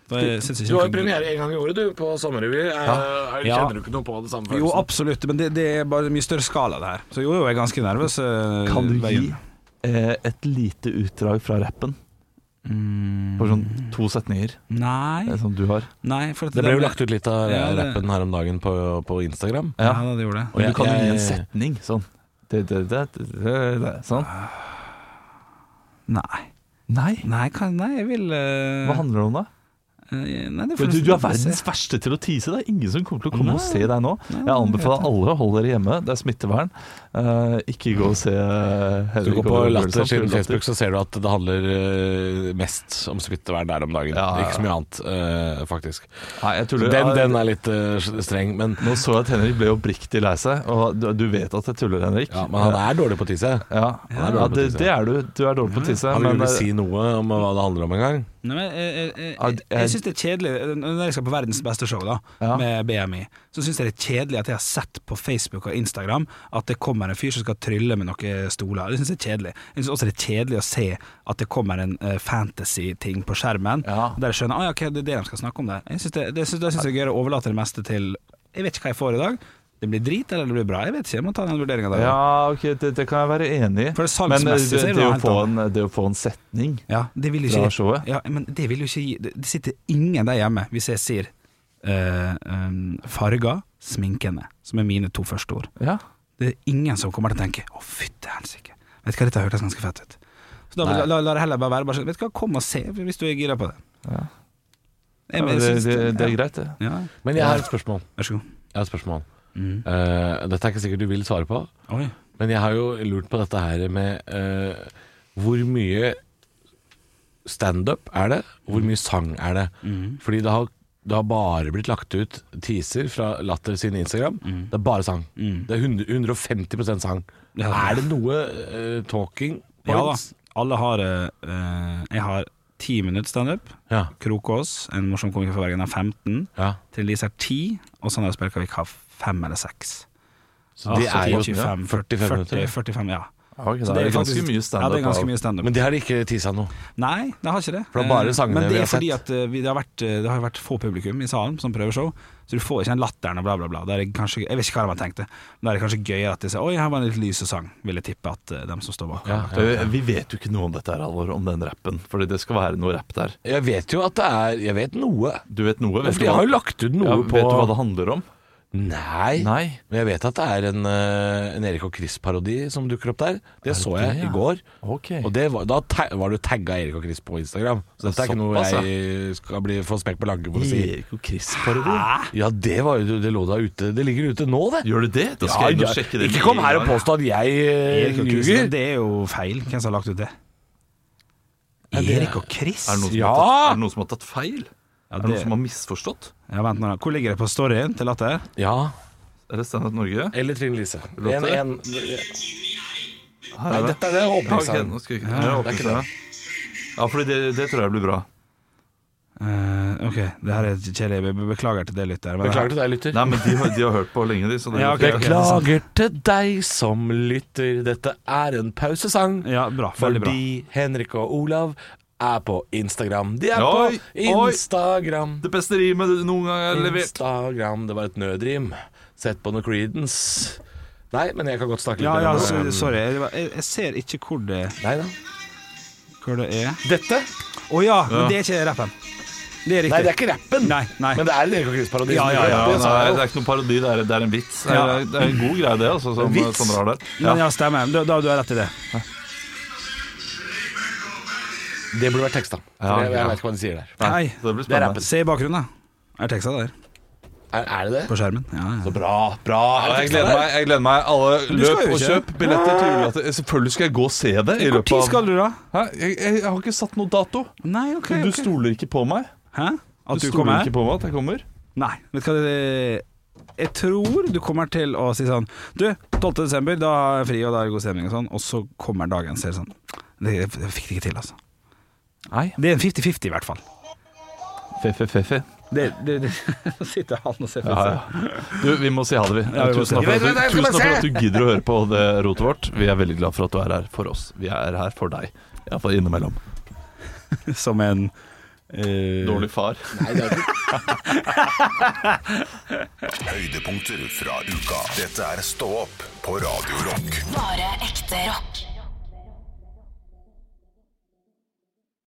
Speaker 2: Da jeg synes ikke
Speaker 3: Du har
Speaker 2: noe-
Speaker 3: jo premiere en gang i året, du, på sommerrevy. Eh, er-
Speaker 2: Ja.
Speaker 3: Kjenner du ikke noe på det samme
Speaker 2: Jo,
Speaker 3: følelsen?
Speaker 2: absolutt, men det, det er bare mye større skala, det her. Så jo, jo, jeg er ganske nervøs. eh,
Speaker 1: Kan du gi
Speaker 2: veien.
Speaker 1: eh, et lite utdrag fra rappen? På sånn to setninger eh,
Speaker 2: Nei,
Speaker 1: som du har.
Speaker 2: nei for at
Speaker 3: Det ble jo lagt ut litt av
Speaker 2: Ja, det-
Speaker 3: rappen her om dagen på, på Instagram.
Speaker 2: Ja,
Speaker 1: Ja.
Speaker 2: det gjorde det.
Speaker 3: Og
Speaker 1: Men
Speaker 3: jeg-
Speaker 1: du kan jo gi en
Speaker 3: jeg-
Speaker 1: setning sånn. Det, det, det, det, det, det, sånn.
Speaker 2: Nei,
Speaker 1: Nei,
Speaker 2: nei, kan, nei jeg vil eh,
Speaker 1: hva handler det om da?
Speaker 2: eh, nei, det får
Speaker 1: Men Du,
Speaker 2: nesten
Speaker 1: du er
Speaker 2: bare se.
Speaker 1: verdens verste til å tease. Det er ingen som kommer til å komme og
Speaker 2: Nei.
Speaker 1: se deg nå.
Speaker 2: Nei,
Speaker 1: Jeg anbefaler
Speaker 2: jeg
Speaker 1: alle å holde dere hjemme. Det er smittevern. Eh, ikke gå og se eh,
Speaker 3: Du
Speaker 1: Henrik
Speaker 3: går på
Speaker 1: og
Speaker 3: Latter
Speaker 1: Bjørnson
Speaker 3: sin
Speaker 1: spille
Speaker 3: Facebook, så ser du at det handler eh, mest om smittevern der om dagen.
Speaker 1: Ja, ja, ja.
Speaker 3: Ikke så mye annet, eh, faktisk.
Speaker 1: Nei, jeg tuller.
Speaker 3: Den,
Speaker 1: Ja,
Speaker 3: den er litt eh, streng, men,
Speaker 1: Nå så jeg at Henrik ble oppriktig lei seg, og du, du vet at jeg tuller, Henrik. Eh,
Speaker 3: ja, men han er dårlig på å tisse.
Speaker 1: Ja,
Speaker 3: Han er
Speaker 1: ja
Speaker 3: dårlig på
Speaker 1: det,
Speaker 3: tisse.
Speaker 1: det er du. Du er dårlig på å tisse.
Speaker 3: Han vil
Speaker 1: Men
Speaker 3: ikke
Speaker 1: eh,
Speaker 3: si noe om hva det handler om engang.
Speaker 2: Nei, men, jeg jeg, jeg,
Speaker 1: Ja,
Speaker 2: jeg, jeg syns det er kjedelig Når jeg skal på verdens beste show, da,
Speaker 1: Ja.
Speaker 2: med BMI, så syns jeg det er kjedelig at jeg har sett på Facebook og Instagram at det kommer en fyr som skal trylle med noen stoler. Det syns jeg er kjedelig. Jeg syns også det er kjedelig å se at det kommer en eh, fantasy-ting på skjermen,
Speaker 1: Ja.
Speaker 2: der jeg skjønner ah, ja, ok, det er det de skal snakke om der. Jeg syns det, det, synes, det synes jeg er gøy å overlate det meste til Jeg vet ikke hva jeg får i dag. Det blir drit, eller det blir bra. Jeg vet ikke. Jeg må ta den vurderinga der.
Speaker 1: Ja, ok, det, det kan jeg være enig i.
Speaker 2: For det er
Speaker 1: Men eh,
Speaker 2: salgsmessig
Speaker 1: det,
Speaker 2: så er det
Speaker 1: det,
Speaker 2: noe
Speaker 1: å
Speaker 2: helt
Speaker 1: få en, det å få en setning
Speaker 2: Ja, det vil jo
Speaker 1: Fra
Speaker 2: ikke
Speaker 1: showet?
Speaker 2: Ja, men det vil jo ikke gi Det det sitter ingen der hjemme hvis jeg sier eh, em, farger, sminkende, som er mine to første ord.
Speaker 1: Ja,
Speaker 2: Det er ingen som kommer til å tenke å fytte helsike, vet du hva, dette hørtes ganske fett ut. Så da vil-
Speaker 1: Nei.
Speaker 2: la, la det heller bare være bare sånn, vet du hva, kom og se hvis du er gira på det.
Speaker 1: Ja.
Speaker 2: Jeg,
Speaker 1: ja
Speaker 2: men,
Speaker 1: det,
Speaker 2: jeg
Speaker 1: det,
Speaker 2: synes
Speaker 1: det er
Speaker 2: ja.
Speaker 1: greit, det.
Speaker 2: Ja,
Speaker 3: Men jeg har et spørsmål.
Speaker 2: vær så god.
Speaker 3: Jeg har et spørsmål.
Speaker 2: Mm.
Speaker 3: Eh, dette er ikke sikkert du vil svare på,
Speaker 2: Oi.
Speaker 3: men jeg har jo lurt på dette her med eh, hvor mye standup er det, og hvor mye sang er det. Fordi det har, det har bare blitt lagt ut teaser fra Latter sin Instagram. Det er bare sang.
Speaker 2: Mm.
Speaker 3: Det er 100, 150 sang.
Speaker 2: Ja.
Speaker 3: Er det noe eh, talking
Speaker 2: Ja da.
Speaker 3: points?
Speaker 2: Alle har eh, eh, Jeg har ti minutter standup.
Speaker 3: Ja.
Speaker 2: Krokås, en morsom komiker fra Bergen, har 15.
Speaker 3: ja.
Speaker 2: Til Lise er 10, og Sondre Spjelkavik har 5 eller 6.
Speaker 1: Ah,
Speaker 3: Så det er jo 45 minutter.
Speaker 2: 45, ja.
Speaker 1: Ja, ok,
Speaker 2: Så
Speaker 1: det er
Speaker 2: faktisk-
Speaker 1: ganske mye
Speaker 2: Ja, det er ganske
Speaker 1: standup.
Speaker 2: mye standup.
Speaker 3: Men de har ikke tisa noe.
Speaker 2: Nei, det har ikke det.
Speaker 3: For det er bare
Speaker 2: Eh,
Speaker 3: sangene
Speaker 2: Men
Speaker 3: vi
Speaker 2: det
Speaker 3: har
Speaker 2: er fordi
Speaker 3: sett.
Speaker 2: at eh, vi, det, har vært, eh, det har vært få publikum i salen som prøveshow, så du får ikke den latteren og bla, bla, bla. Det er kanskje, jeg vet ikke hva de har tenkt det, men da er det kanskje gøyere at de sier 'oi, her var det litt lys og sang', vil jeg tippe at eh, dem som står bak.
Speaker 3: Ja,
Speaker 1: Eh, Vi vet jo ikke noe om dette her, Alvor, om den rappen. Fordi det skal være noe rapp der.
Speaker 3: Jeg vet jo at det er Jeg vet noe.
Speaker 1: Du vet noe?
Speaker 3: For
Speaker 1: Vet,
Speaker 3: de
Speaker 1: du,
Speaker 3: har jo
Speaker 1: hva,
Speaker 3: lagt ut
Speaker 1: ja,
Speaker 3: noe på
Speaker 1: vet du hva det handler om?
Speaker 3: Nei.
Speaker 1: Nei.
Speaker 3: Men jeg vet at det er en, eh, en Erik og Chris-parodi som dukker opp der. Det så
Speaker 1: det,
Speaker 3: jeg
Speaker 1: ja?
Speaker 3: i går.
Speaker 1: Ok.
Speaker 3: Og det var, da ta var du tagga Erik og Chris på Instagram. Så dette er ikke noe
Speaker 1: Såpass, ja.
Speaker 3: jeg skal bli, få smekk på lange for å si.
Speaker 1: Erik og Chris-parodi?
Speaker 3: Ja, det, var, jo- det lå da ute. Det ligger ute nå, det.
Speaker 1: Gjør du det? Da skal
Speaker 3: Ja,
Speaker 1: jeg inn og
Speaker 3: ja.
Speaker 1: sjekke det.
Speaker 3: Ikke
Speaker 1: med
Speaker 3: kom
Speaker 1: en
Speaker 3: her og
Speaker 1: gang.
Speaker 3: påstå at jeg eh,
Speaker 2: Erik og Chris, men
Speaker 3: ljuger.
Speaker 2: det er jo feil. Hvem som har lagt ut det? Erik og Chris?
Speaker 1: Er det noen som,
Speaker 3: Ja!
Speaker 1: har, tatt, er det noen som har tatt feil?
Speaker 2: Ja,
Speaker 1: Er det
Speaker 2: det-
Speaker 1: noen som har misforstått?
Speaker 2: Ja, vent nå, da. Hvor ligger det på storyen til Latter?
Speaker 3: Ja.
Speaker 1: Er det Standup Norge?
Speaker 3: Eller Trine Lise.
Speaker 1: Låter?
Speaker 3: En, en,
Speaker 1: Her
Speaker 3: nei,
Speaker 1: er det.
Speaker 3: dette er det
Speaker 1: Ja, ok,
Speaker 3: åpningssangen.
Speaker 1: nå skal jeg ikke Ja,
Speaker 3: det er ikke
Speaker 1: åpne seg. Ja, fordi det, det tror jeg blir bra.
Speaker 2: Eh, ok, det her er kjedelig. Be- be- Beklager til det, lytter. men-
Speaker 3: Beklager til deg, lytter.
Speaker 1: Nei, men de, har- de har hørt på lenge, de. Så det
Speaker 2: Ja, ok, ok.
Speaker 3: Beklager til deg som lytter. Dette er en pausesang.
Speaker 2: Ja, bra. Veldig bra.
Speaker 3: Fordi Henrik og Olav er på Instagram. De er
Speaker 1: Oi,
Speaker 3: på
Speaker 1: oi.
Speaker 3: Instagram.
Speaker 1: Det beste rimet du noen gang har levert.
Speaker 3: Instagram, Det var et nødrim. Sett på noe Creedence. Nei, men jeg kan godt snakke litt
Speaker 2: Ja,
Speaker 3: mer
Speaker 2: ja,
Speaker 3: om
Speaker 2: så-
Speaker 3: det.
Speaker 2: sorry. Jeg, var- jeg, jeg ser ikke hvor det,
Speaker 3: Nei da.
Speaker 2: hvor det er.
Speaker 3: Dette?
Speaker 2: Å ja, men det er ikke rappen. Det er riktig.
Speaker 3: Nei, det er ikke rappen.
Speaker 2: Nei, nei.
Speaker 3: Men det er en Erik og Chris-parodi.
Speaker 2: Ja,
Speaker 3: som
Speaker 2: ja,
Speaker 3: gjør
Speaker 1: Ja,
Speaker 3: det,
Speaker 1: det,
Speaker 3: sa
Speaker 1: er,
Speaker 3: jeg
Speaker 1: det
Speaker 3: jo.
Speaker 1: er ikke noen parodi, det er, det er en vits. Det
Speaker 2: Ja.
Speaker 1: er, det er en god greie, det. Altså, som
Speaker 3: vits?
Speaker 1: Sondre har der.
Speaker 2: Men
Speaker 1: Ja.
Speaker 2: ja, stemmer. Da, da har du rett i det.
Speaker 3: det burde vært teksta. For
Speaker 1: Ja,
Speaker 3: jeg, jeg
Speaker 1: ja.
Speaker 3: vet ikke hva de sier der.
Speaker 1: Nei,
Speaker 2: Nei.
Speaker 1: så det blir
Speaker 3: Det er
Speaker 1: spennende.
Speaker 3: rappen.
Speaker 2: Se i bakgrunnen, da. Er teksta der.
Speaker 3: Er, er det det?
Speaker 2: på skjermen. Ja, ja.
Speaker 1: Bra, bra. Jeg gleder meg. jeg gleder meg Alle
Speaker 2: skal
Speaker 1: løp
Speaker 2: jo
Speaker 1: og
Speaker 2: ikke.
Speaker 1: kjøp billetter til julelatter. Selvfølgelig skal jeg gå og se det. i
Speaker 2: Hvor
Speaker 1: løpet
Speaker 2: tid
Speaker 1: av
Speaker 2: skal du, da?
Speaker 1: Hæ? Jeg, jeg, jeg har ikke satt noe dato.
Speaker 2: Nei, ok,
Speaker 1: Du
Speaker 2: ok.
Speaker 1: stoler ikke på meg.
Speaker 2: Hæ?
Speaker 1: du
Speaker 2: At du,
Speaker 1: stoler
Speaker 2: kommer her?
Speaker 1: ikke på meg at jeg kommer.
Speaker 2: Nei. Vet du hva det Jeg tror du kommer til å si sånn Du, 12. desember, da har jeg fri, og da er det god stemning og sånn, og så kommer dagen, så er det sånn Det, det fikk det ikke til, altså.
Speaker 1: Nei.
Speaker 2: Det er en 50-50 i hvert fall.
Speaker 1: Fe-fe-fe-fe.
Speaker 2: Det, det, det. Så sitter han og ser på
Speaker 1: Ja,
Speaker 2: seg.
Speaker 1: ja. Du, vi må si ha det, vi.
Speaker 2: Ja, vi må
Speaker 1: tusen,
Speaker 2: si ha
Speaker 1: takk for
Speaker 3: det.
Speaker 1: at du,
Speaker 3: Jeg
Speaker 1: tusen
Speaker 3: skal bare
Speaker 1: takk for at
Speaker 3: se.
Speaker 1: du gidder å høre på det rotet vårt. Vi er veldig glad for at du er her for oss. Vi er her for deg. Iallfall innimellom.
Speaker 2: Som en eh,
Speaker 1: Dårlig far.
Speaker 5: Høydepunkter fra uka. Dette er Stå opp på Radio Rock.
Speaker 4: Bare ekte rock.